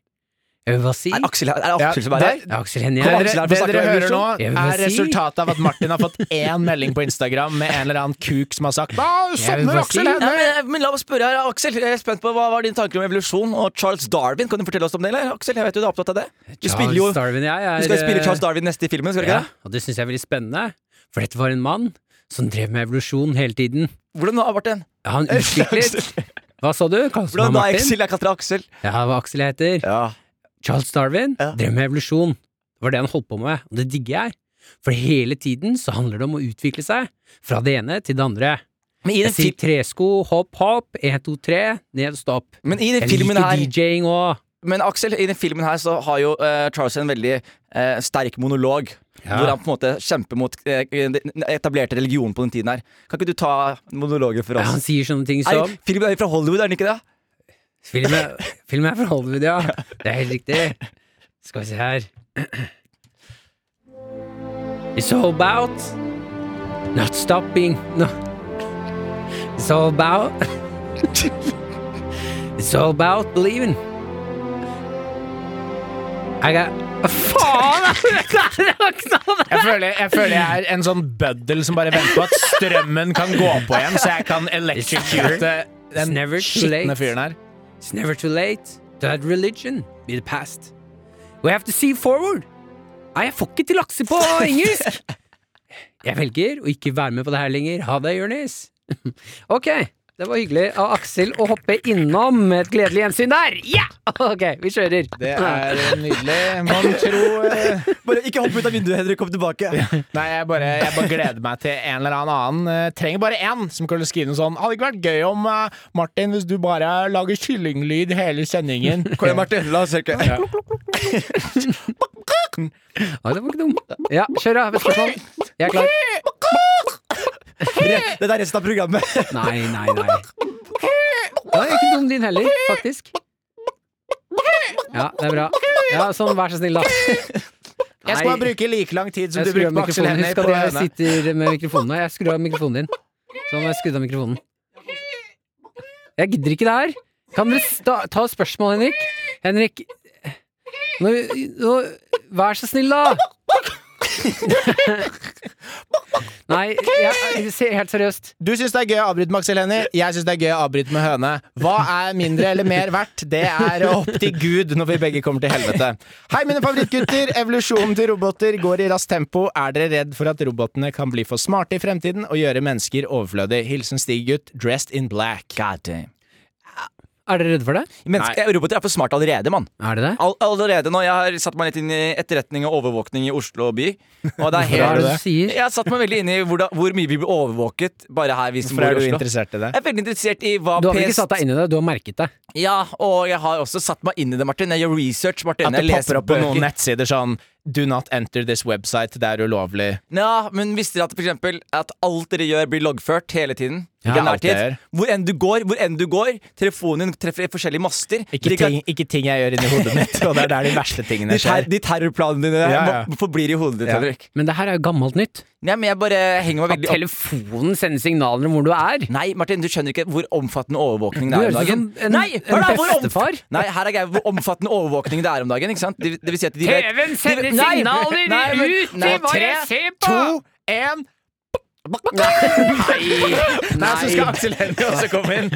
[SPEAKER 4] Jeg vil bare si
[SPEAKER 5] Er Aksel, er det
[SPEAKER 3] Ja,
[SPEAKER 5] Aksel som er her?
[SPEAKER 3] det-
[SPEAKER 4] Ja, Aksel Hennie
[SPEAKER 3] Det
[SPEAKER 5] Kom,
[SPEAKER 4] her.
[SPEAKER 5] Aksel
[SPEAKER 3] dere,
[SPEAKER 5] her for
[SPEAKER 3] det
[SPEAKER 5] å snakke
[SPEAKER 3] dere
[SPEAKER 5] om
[SPEAKER 3] hører nå,
[SPEAKER 5] evolusjon.
[SPEAKER 4] Jeg vil
[SPEAKER 3] er
[SPEAKER 4] bare si-
[SPEAKER 3] resultatet av at Martin har fått én melding på Instagram med en eller annen kuk som har sagt «Å,
[SPEAKER 4] Jeg vil
[SPEAKER 3] Sovner
[SPEAKER 4] bare si-
[SPEAKER 3] Aksel
[SPEAKER 5] Ja,
[SPEAKER 3] Hennie!
[SPEAKER 5] men, eh, men la meg spørre her, Aksel, jeg er spent på Hva var dine tanker om evolusjon og Charles Darwin? Kan du fortelle oss om det, eller? Aksel, jeg vet jo du er opptatt av det. Du, spiller jo,
[SPEAKER 4] Charles Darwin, jeg er
[SPEAKER 5] du skal jo spille
[SPEAKER 4] eh,
[SPEAKER 5] Charles Darwin neste i filmen, skal du
[SPEAKER 4] ja,
[SPEAKER 5] ikke det?
[SPEAKER 4] Og det syns jeg er veldig spennende, for dette var en mann som drev med evolusjon hele tiden.
[SPEAKER 5] Hvordan da, Martin?
[SPEAKER 4] Ja,
[SPEAKER 5] [laughs]
[SPEAKER 4] han utviklet Hva sa du? Kalte du meg
[SPEAKER 5] Hvordan da,
[SPEAKER 4] Martin?
[SPEAKER 5] Aksel? Jeg kaller deg Aksel.
[SPEAKER 4] Ja, hva Aksel jeg heter.
[SPEAKER 5] Ja.
[SPEAKER 4] Charles Darwin
[SPEAKER 5] Ja.
[SPEAKER 4] drev med evolusjon. Det var det han holdt på med, og det digger jeg. For hele tiden så handler det om å utvikle seg, fra det ene til det andre.
[SPEAKER 5] Men i
[SPEAKER 4] Jeg
[SPEAKER 5] den,
[SPEAKER 4] sier
[SPEAKER 5] fil
[SPEAKER 4] tresko, hopp, hopp, én, to, tre, ned, stopp.
[SPEAKER 5] men i den
[SPEAKER 4] Jeg
[SPEAKER 5] filmen
[SPEAKER 4] liker
[SPEAKER 5] her
[SPEAKER 4] DJ-ing òg.
[SPEAKER 5] Men Aksel, i den filmen her så har jo eh, Charles en veldig eh, sterk monolog. Hvor han på en måte kjemper mot eh, den etablerte religionen på den tiden her. Kan ikke du ta monologen for
[SPEAKER 4] Ja, han
[SPEAKER 5] oss?
[SPEAKER 4] sier sånne ting
[SPEAKER 5] er,
[SPEAKER 4] som
[SPEAKER 5] filmen er jo fra Hollywood, er den ikke det?
[SPEAKER 4] Film er, film er fra Hollywood, ja. Det er helt riktig. Skal vi se her It's all about not stopping no. It's all about [laughs] It's all about believing. I got Faen! [laughs]
[SPEAKER 3] Jeg føler, jeg føler jeg er en sånn bøddel som bare venter på at strømmen kan gå på igjen, så jeg kan electrocute den
[SPEAKER 4] never too
[SPEAKER 3] skitne
[SPEAKER 4] late.
[SPEAKER 3] fyren her.
[SPEAKER 4] It's never too late to let religion be the past. We have to see forward. Nei, jeg får ikke til lakse
[SPEAKER 3] [laughs]
[SPEAKER 4] på engelsk! Jeg velger å ikke være med på det her lenger. Ha det, Jonis. [laughs] Ok, det var hyggelig av Aksel å hoppe innom med et gledelig gjensyn der. Ja! [laughs] Ok, vi kjører.
[SPEAKER 3] Det er nydelig. Man tror eh,
[SPEAKER 5] Bare ikke hopp ut av vinduet, Henrik. Kom tilbake.
[SPEAKER 4] [laughs]
[SPEAKER 3] Nei, jeg bare, jeg bare gleder meg til en eller annen annen. Eh, Trenger bare én som kan skrive noe sånn. Hadde ikke vært gøy om eh, Martin, hvis du bare lager kyllinglyd hele sendingen.
[SPEAKER 5] Kom igjen, Martin. La oss hjelpe.
[SPEAKER 4] Nei, Ah, det var ikke dum. Ja, kjør, da. Vet du hva? Jeg er klar.
[SPEAKER 5] Det er resten av programmet.
[SPEAKER 3] [laughs]
[SPEAKER 4] Nei, nei, nei. Det var ikke dum din heller, faktisk. Ja, det er bra. Ja, sånn, vær så snill, da.
[SPEAKER 3] Jeg skal
[SPEAKER 4] Nei.
[SPEAKER 3] bare bruke like lang tid som
[SPEAKER 4] Jeg
[SPEAKER 3] du
[SPEAKER 4] skrur
[SPEAKER 3] brukte
[SPEAKER 4] av
[SPEAKER 3] på Aksel
[SPEAKER 4] mikrofonen.
[SPEAKER 3] Hennie.
[SPEAKER 4] Husk at
[SPEAKER 3] på
[SPEAKER 4] jeg
[SPEAKER 3] denne.
[SPEAKER 4] sitter med mikrofonen her. Jeg skrur av mikrofonen din. Sånn, jeg skrudde av mikrofonen. Jeg gidder ikke det her. Kan dere sta ta spørsmål, Henrik? Henrik nå, nå, Vær så snill, da! [laughs] Nei, jeg, jeg, ser helt seriøst.
[SPEAKER 3] Du syns det er gøy å avbryte med Aksel Hennie, jeg syns det er gøy å avbryte med høne. Hva er mindre eller mer verdt? Det er opp til Gud når vi begge kommer til helvete. Hei, mine favorittgutter! Evolusjonen til roboter går i raskt tempo. Er dere redd for at robotene kan bli for smarte i fremtiden og gjøre mennesker overflødige? Hilsen Stig-gutt, dressed in black.
[SPEAKER 5] God damn.
[SPEAKER 4] Er dere redde for det?
[SPEAKER 5] Menneske,
[SPEAKER 3] eh,
[SPEAKER 5] roboter er for smarte allerede, mann.
[SPEAKER 4] Er det det?
[SPEAKER 5] All, allerede nå, Jeg har satt meg litt inn i etterretning og overvåkning i Oslo by.
[SPEAKER 3] [laughs]
[SPEAKER 4] Hva
[SPEAKER 5] Og det er
[SPEAKER 4] er
[SPEAKER 5] helt,
[SPEAKER 4] det du sier?
[SPEAKER 5] jeg har satt meg veldig inn i hvor, hvor mye vi blir overvåket bare her, vi som
[SPEAKER 3] Hvorfor
[SPEAKER 5] bor i
[SPEAKER 3] er du
[SPEAKER 5] Oslo.
[SPEAKER 3] interessert i det?
[SPEAKER 5] Jeg er veldig interessert i hva
[SPEAKER 4] Du har vel ikke
[SPEAKER 5] PS
[SPEAKER 4] satt deg inn i det? Du har merket det?
[SPEAKER 5] Ja, og jeg har også satt meg inn i det, Martin. Jeg gjør research. Martin
[SPEAKER 3] At det
[SPEAKER 5] jeg
[SPEAKER 3] popper
[SPEAKER 5] leser
[SPEAKER 3] opp på noen
[SPEAKER 5] bøker.
[SPEAKER 3] nettsider sånn Do not enter this website, det er ulovlig.
[SPEAKER 5] Ja, men visste dere at for eksempel At alt dere gjør, blir loggført hele tiden?
[SPEAKER 3] Ja,
[SPEAKER 5] Ikke nær
[SPEAKER 3] alt jeg
[SPEAKER 5] tid.
[SPEAKER 3] gjør.
[SPEAKER 5] Hvor enn du går, hvor enn du går telefonen din treffer forskjellige master.
[SPEAKER 3] Ikke
[SPEAKER 5] Dere kan-
[SPEAKER 3] ting, ikke ting jeg gjør inni hodet mitt, og det er der de verste tingene
[SPEAKER 5] De, ter
[SPEAKER 3] skjer.
[SPEAKER 5] de terrorplanene dine
[SPEAKER 3] Ja, ja.
[SPEAKER 5] må- forblir i hodet ditt,
[SPEAKER 3] Ja.
[SPEAKER 5] Henrik.
[SPEAKER 4] Men det her er jo gammelt nytt.
[SPEAKER 5] Nei, men jeg bare henger meg
[SPEAKER 4] At
[SPEAKER 5] veldig opp
[SPEAKER 4] telefonen sender signaler om hvor du er.
[SPEAKER 5] Nei, Martin, du skjønner ikke hvor omfattende overvåkning
[SPEAKER 4] Du
[SPEAKER 5] det er
[SPEAKER 4] høres
[SPEAKER 5] om
[SPEAKER 4] ut
[SPEAKER 5] dagen.
[SPEAKER 4] som en,
[SPEAKER 5] Nei, hør
[SPEAKER 4] en
[SPEAKER 5] da, hvor omf-
[SPEAKER 4] bestefar.
[SPEAKER 5] Nei, her er greia hvor omfattende overvåkning det er om dagen. ikke sant? Det, det vil si at de vet
[SPEAKER 4] TV-en
[SPEAKER 5] sender de- nei, signaler nei, men- ut i nei, hva tre, jeg [laughs]
[SPEAKER 4] ser
[SPEAKER 3] To, én Nei, så skal Aksel Hennie også komme inn.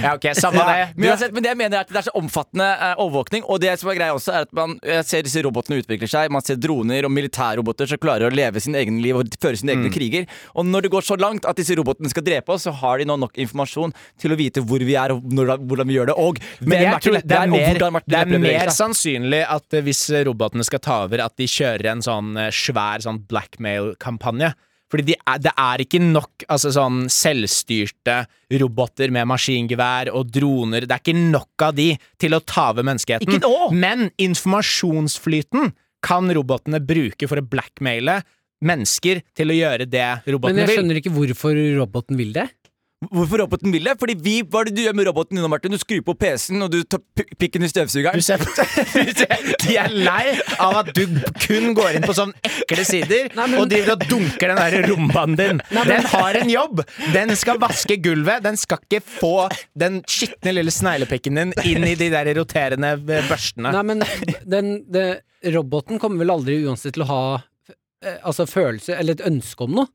[SPEAKER 3] Ja, ok, samme det.
[SPEAKER 5] ja, men,
[SPEAKER 3] Du,
[SPEAKER 5] uansett, men det jeg mener er at det er så omfattende eh, overvåkning. Og det som er greia også er at man eh, ser disse robotene utvikle seg. Man ser droner og militærroboter som klarer å leve sin egen liv og føre sine
[SPEAKER 3] Mm.
[SPEAKER 5] egne kriger. Og når det går så langt at disse robotene skal drepe oss, så har de nå nok informasjon til å vite hvor vi er og når, hvordan vi gjør det. Og hvem
[SPEAKER 3] men jeg
[SPEAKER 5] Martin
[SPEAKER 3] tror
[SPEAKER 5] Lepperød
[SPEAKER 3] det er
[SPEAKER 5] og
[SPEAKER 3] mer,
[SPEAKER 5] hvordan Martin
[SPEAKER 3] det er
[SPEAKER 5] Lepperød beveger
[SPEAKER 3] mer
[SPEAKER 5] seg.
[SPEAKER 3] sannsynlig at eh, hvis robotene skal ta over, at de kjører en sånn eh, svær sånn blackmail-kampanje. Fordi de er, det er ikke nok altså sånn selvstyrte roboter med maskingevær og droner Det er ikke nok av de til å ta over menneskeheten.
[SPEAKER 5] Ikke nå!
[SPEAKER 3] Men informasjonsflyten kan robotene bruke for å blackmaile mennesker til å gjøre det
[SPEAKER 4] Men
[SPEAKER 3] robotene
[SPEAKER 4] jeg
[SPEAKER 3] vil.
[SPEAKER 4] skjønner ikke hvorfor roboten vil det.
[SPEAKER 5] Hvorfor roboten vil det? Fordi vi, Hva er det du gjør med roboten nå, Martin? Du skrur på PC-en, og du tar pi- pikken i
[SPEAKER 3] Du
[SPEAKER 5] støvsugeren.
[SPEAKER 3] ser, du ser, [laughs] de er lei av at du kun går inn på sånne ekle sider og driver og dunker den der rumbaen din. Den har en jobb! Den skal vaske gulvet. Den skal ikke få den skitne lille sneglepikken din inn i de der roterende eh, børstene.
[SPEAKER 4] Nei, men den, det, roboten kommer vel aldri uansett til å ha eh, altså følelse eller et ønske om noe.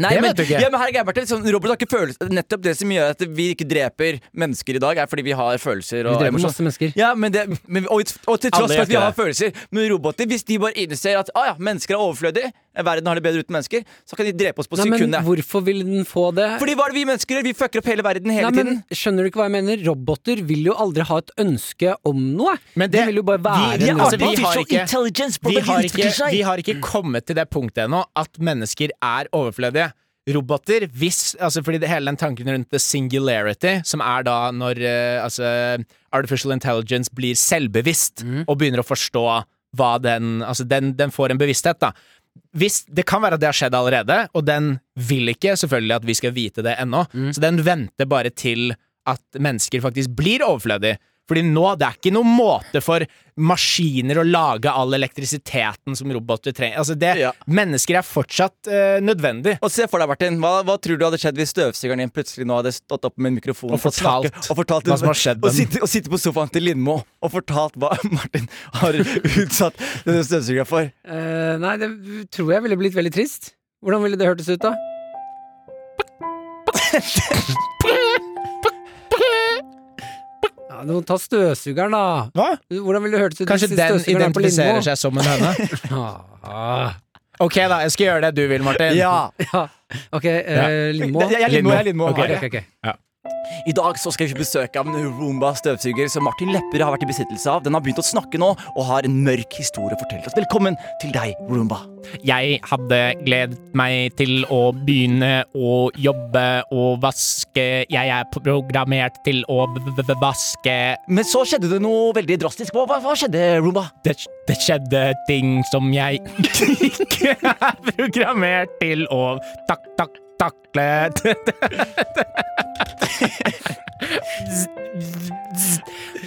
[SPEAKER 5] Nei,
[SPEAKER 3] Det
[SPEAKER 5] men,
[SPEAKER 3] vet du ikke.
[SPEAKER 5] Ja, men her er greia, Martin. Sånn, Robert har ikke følelser. Nettopp det som gjør at vi ikke dreper mennesker i dag, er fordi vi har
[SPEAKER 4] Vi
[SPEAKER 5] følelser og
[SPEAKER 4] dreper
[SPEAKER 5] emosjon.
[SPEAKER 4] masse mennesker.
[SPEAKER 5] Ja, men det, men, og, og
[SPEAKER 3] Alle
[SPEAKER 5] til tross for
[SPEAKER 3] gjør
[SPEAKER 5] at vi
[SPEAKER 3] ikke
[SPEAKER 5] har
[SPEAKER 3] det.
[SPEAKER 5] følelser. Men roboter, hvis de bare innser at ah, ja, mennesker er overflødige, verden har det bedre uten mennesker, så kan de drepe oss på
[SPEAKER 4] Nei, men
[SPEAKER 5] sekundet.
[SPEAKER 4] hvorfor vil den få det?
[SPEAKER 5] Fordi hva er det vi mennesker gjør? Vi fucker opp hele verden hele
[SPEAKER 4] Nei, men
[SPEAKER 5] tiden.
[SPEAKER 4] Skjønner du ikke hva jeg mener? Roboter vil jo aldri ha et ønske om noe.
[SPEAKER 3] Men det-
[SPEAKER 4] de vil jo bare være
[SPEAKER 3] de- de er
[SPEAKER 4] noe.
[SPEAKER 3] altså, vi har ikke-
[SPEAKER 5] intelligence,
[SPEAKER 3] Vi har, ikke, vi har ikke kommet til det punktet ennå at mennesker er overflødige. roboter hvis altså Fordi det hele den tanken rundt the singularity, som er da når eh, altså, artificial intelligence blir selvbevisst og begynner å forstå hva den Altså, den, den får en bevissthet, da. Hvis, det kan være at det har skjedd allerede, og den vil ikke selvfølgelig at vi skal vite det ennå.
[SPEAKER 4] Mm.
[SPEAKER 3] Så den venter bare til at mennesker faktisk blir overflødige. Fordi nå, det er ikke noen måte for maskiner å lage all elektrisiteten som roboter trenger. Altså det,
[SPEAKER 5] Ja.
[SPEAKER 3] Mennesker er fortsatt eh, nødvendig.
[SPEAKER 5] Og se for deg, Martin, hva, hva tror du hadde skjedd hvis støvsugeren din plutselig nå hadde stått opp med en mikrofon
[SPEAKER 3] Og fortalt
[SPEAKER 5] snakke- og fortalt
[SPEAKER 3] hva som har skjedd
[SPEAKER 5] og
[SPEAKER 3] dem.
[SPEAKER 5] sitte, og sitte på sofaen til Lindmo og fortalt hva [laughs] Martin har utsatt denne støvsugeren for?
[SPEAKER 4] Eh, nei, det tror jeg ville blitt veldig trist. Hvordan ville det hørtes ut, da? Ja, du må ta støvsugeren, da.
[SPEAKER 3] Hva?
[SPEAKER 4] Hvordan ville det hørtes ut
[SPEAKER 3] Kanskje
[SPEAKER 4] hvis
[SPEAKER 3] den
[SPEAKER 4] støvsugeren er på
[SPEAKER 3] identifiserer
[SPEAKER 4] Lindmo?
[SPEAKER 3] seg som en høne?
[SPEAKER 4] Ah,
[SPEAKER 3] Ok, da. Jeg skal gjøre det du vil, Martin.
[SPEAKER 4] ja. Ok, eh, Lindmo.
[SPEAKER 5] Jeg, jeg, jeg, Lindmo, jeg, Lindmo.
[SPEAKER 4] Ok,
[SPEAKER 5] har det.
[SPEAKER 4] ok, ok.
[SPEAKER 5] I dag så skal vi få besøk av en Roomba-støvsuger som Martin Lepper har vært i besittelse av. Den har begynt å snakke nå og har en mørk historie å fortelle oss. Velkommen til deg, Roomba.
[SPEAKER 3] Jeg hadde gledet meg til å begynne å jobbe og vaske. Jeg er programmert til å v- v- vaske.
[SPEAKER 5] Men så skjedde det noe veldig drastisk. Hva, hva, hva skjedde, Roomba?
[SPEAKER 3] Det, det skjedde ting som jeg [laughs] ikke er programmert til å tak, tak, takle. [laughs]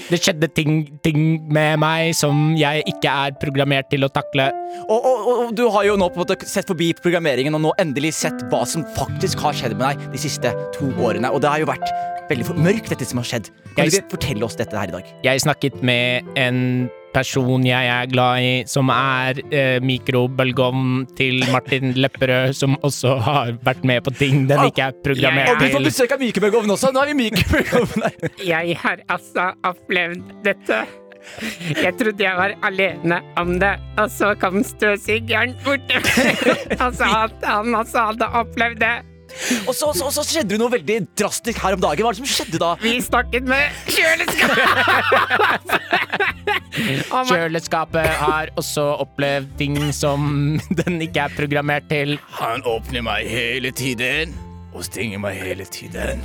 [SPEAKER 3] Det skjedde ting, ting med meg som jeg ikke er programmert til å takle.
[SPEAKER 5] Og, og, og- og du har jo nå på en måte sett forbi programmeringen og nå endelig sett hva som faktisk har skjedd med deg de siste to årene. Og det har jo vært veldig for- mørkt, dette som har skjedd. Kan du
[SPEAKER 3] Jeg-
[SPEAKER 5] ikke fortelle oss dette her i dag?
[SPEAKER 3] Jeg snakket med en person jeg er glad i, som er eh, mikrobølgeovnen til Martin Lepperød, som også har vært med på ting den ikke er
[SPEAKER 5] Og
[SPEAKER 3] programmert
[SPEAKER 5] vi får
[SPEAKER 3] til.
[SPEAKER 5] besøk av Mykebølgeovnen også. Nå er vi i Mykebølgeovnen her.
[SPEAKER 8] Jeg har altså opplevd dette. Jeg trodde jeg var alene om det, og så kom støvsugeren
[SPEAKER 3] [laughs]
[SPEAKER 8] bort og sa at han også hadde opplevd det.
[SPEAKER 5] Og så, så, så skjedde det noe veldig drastisk her om dagen. Hva er det som skjedde da?
[SPEAKER 8] Vi snakket med kjøleskapet! Om at
[SPEAKER 3] Kjøleskapet har også opplevd ting som den ikke er programmert til.
[SPEAKER 5] Han åpner meg hele tiden og stenger meg hele tiden.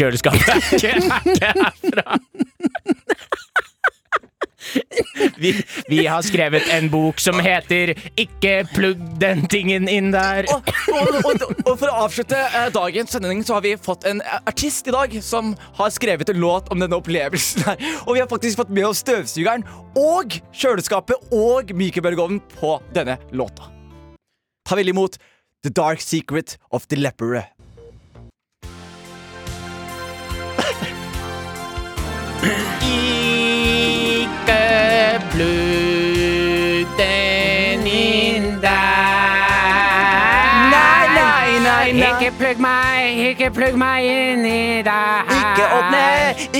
[SPEAKER 3] Kjøleskapet er ikke, er ikke herfra. Vi, vi har skrevet en bok som heter 'Ikke plugg den tingen inn der'.
[SPEAKER 5] Og, og, og, og for å avslutte eh, dagens sending så har vi fått en eh, artist i dag som har skrevet en låt om denne opplevelsen her. Og vi har faktisk fått med oss støvsugeren og kjøleskapet og mykebølgeovnen på denne låta. Ta vel imot The Dark Secret of the Leper.
[SPEAKER 3] Ikke plugg den inn der.
[SPEAKER 5] Nei, nei, nei, nei.
[SPEAKER 4] Ikke plugg meg, ikke plugg meg inn i deg.
[SPEAKER 5] Ikke åpne,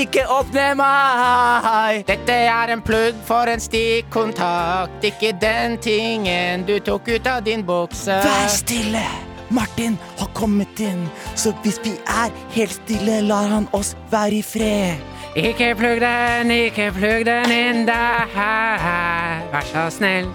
[SPEAKER 5] ikke åpne meg.
[SPEAKER 3] Dette er en plugg for en stikkontakt, ikke den tingen du tok ut av din bukse.
[SPEAKER 5] Vær stille! Martin har kommet inn, så hvis vi er helt stille, lar han oss være i fred.
[SPEAKER 4] Ikke plugg den, ikke plugg den inn der. Vær så snill.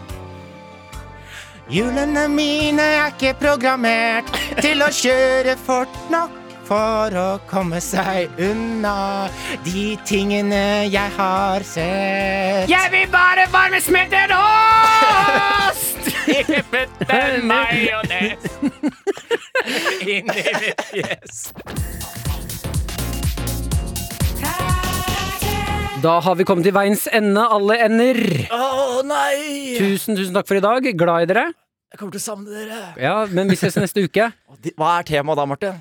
[SPEAKER 3] Hjulene mine er ikke programmert til å kjøre fort nok. For å komme seg unna de tingene jeg har sett.
[SPEAKER 8] jeg vil bare varmesmeltet ost!
[SPEAKER 3] Den majones inn i mitt fjes.
[SPEAKER 4] Da har vi kommet til veiens ende, alle ender.
[SPEAKER 5] Å nei!
[SPEAKER 4] Tusen, tusen takk for i dag. Glad i dere.
[SPEAKER 5] Jeg kommer til å savne dere.
[SPEAKER 4] Ja, men vi ses neste uke.
[SPEAKER 5] Hva er temaet da, Martin?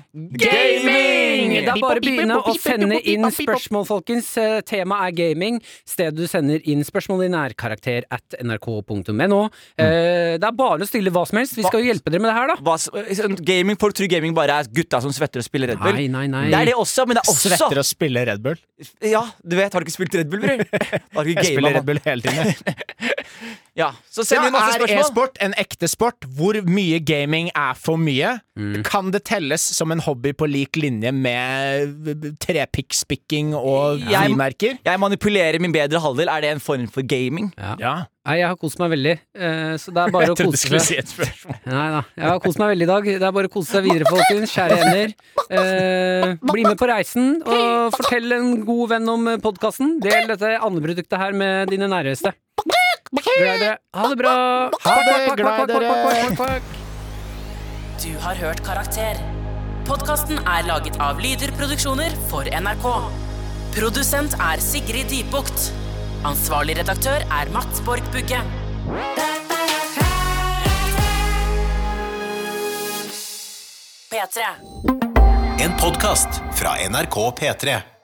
[SPEAKER 4] Gaming! Det er bare å begynne å sende inn spørsmål, folkens. Eh, Temaet er gaming. Stedet du sender inn spørsmål i nærkarakter at nrk.no. Eh, Det er bare å stille hva som helst. Vi skal jo hjelpe dere med det her, da.
[SPEAKER 5] Hva, s- gaming, Folk tror gaming bare er gutta som svetter og spiller Red Bull.
[SPEAKER 4] Nei, nei, nei.
[SPEAKER 5] Det er det også, men det er også
[SPEAKER 3] Svetter å spille Red Bull.
[SPEAKER 5] Ja, du vet, Har du ikke spilt Red Bull, bror? Har du ikke
[SPEAKER 3] Jeg
[SPEAKER 5] gamet,
[SPEAKER 3] spiller
[SPEAKER 5] mann?
[SPEAKER 3] [laughs] Red Bull hele tiden. jeg.
[SPEAKER 5] Ja, så
[SPEAKER 3] Ja,
[SPEAKER 5] send inn masse
[SPEAKER 3] er
[SPEAKER 5] spørsmål.
[SPEAKER 3] e-sport en ekte sport? Hvor mye gaming er for mye? Kan det telles som en hobby på lik linje med trepikkspikking og
[SPEAKER 5] Jeg-
[SPEAKER 3] frimerker?
[SPEAKER 5] Jeg manipulerer min bedre halvdel. Er det en form for gaming?
[SPEAKER 3] Ja.
[SPEAKER 4] Nei, jeg har kost meg veldig, eh, så det er bare å kose seg.
[SPEAKER 3] et spørsmål.
[SPEAKER 4] Nei da. Jeg har kost meg veldig i dag. Det er bare å kose seg videre, folkens. Kjære hender. Eh, bli med på reisen, og fortell en god venn om podkasten. Del dette andeproduktet her med dine nærmeste. Gled dere. Ha det bra.
[SPEAKER 3] Ha det, glad i dere.
[SPEAKER 2] Du har hørt Karakter. Podkasten er laget av Lyder Produksjoner for NRK. Produsent er Sigrid Dybukt. Ansvarlig redaktør er Mats Borg Bugge. P3.
[SPEAKER 9] En podkast fra NRK P3.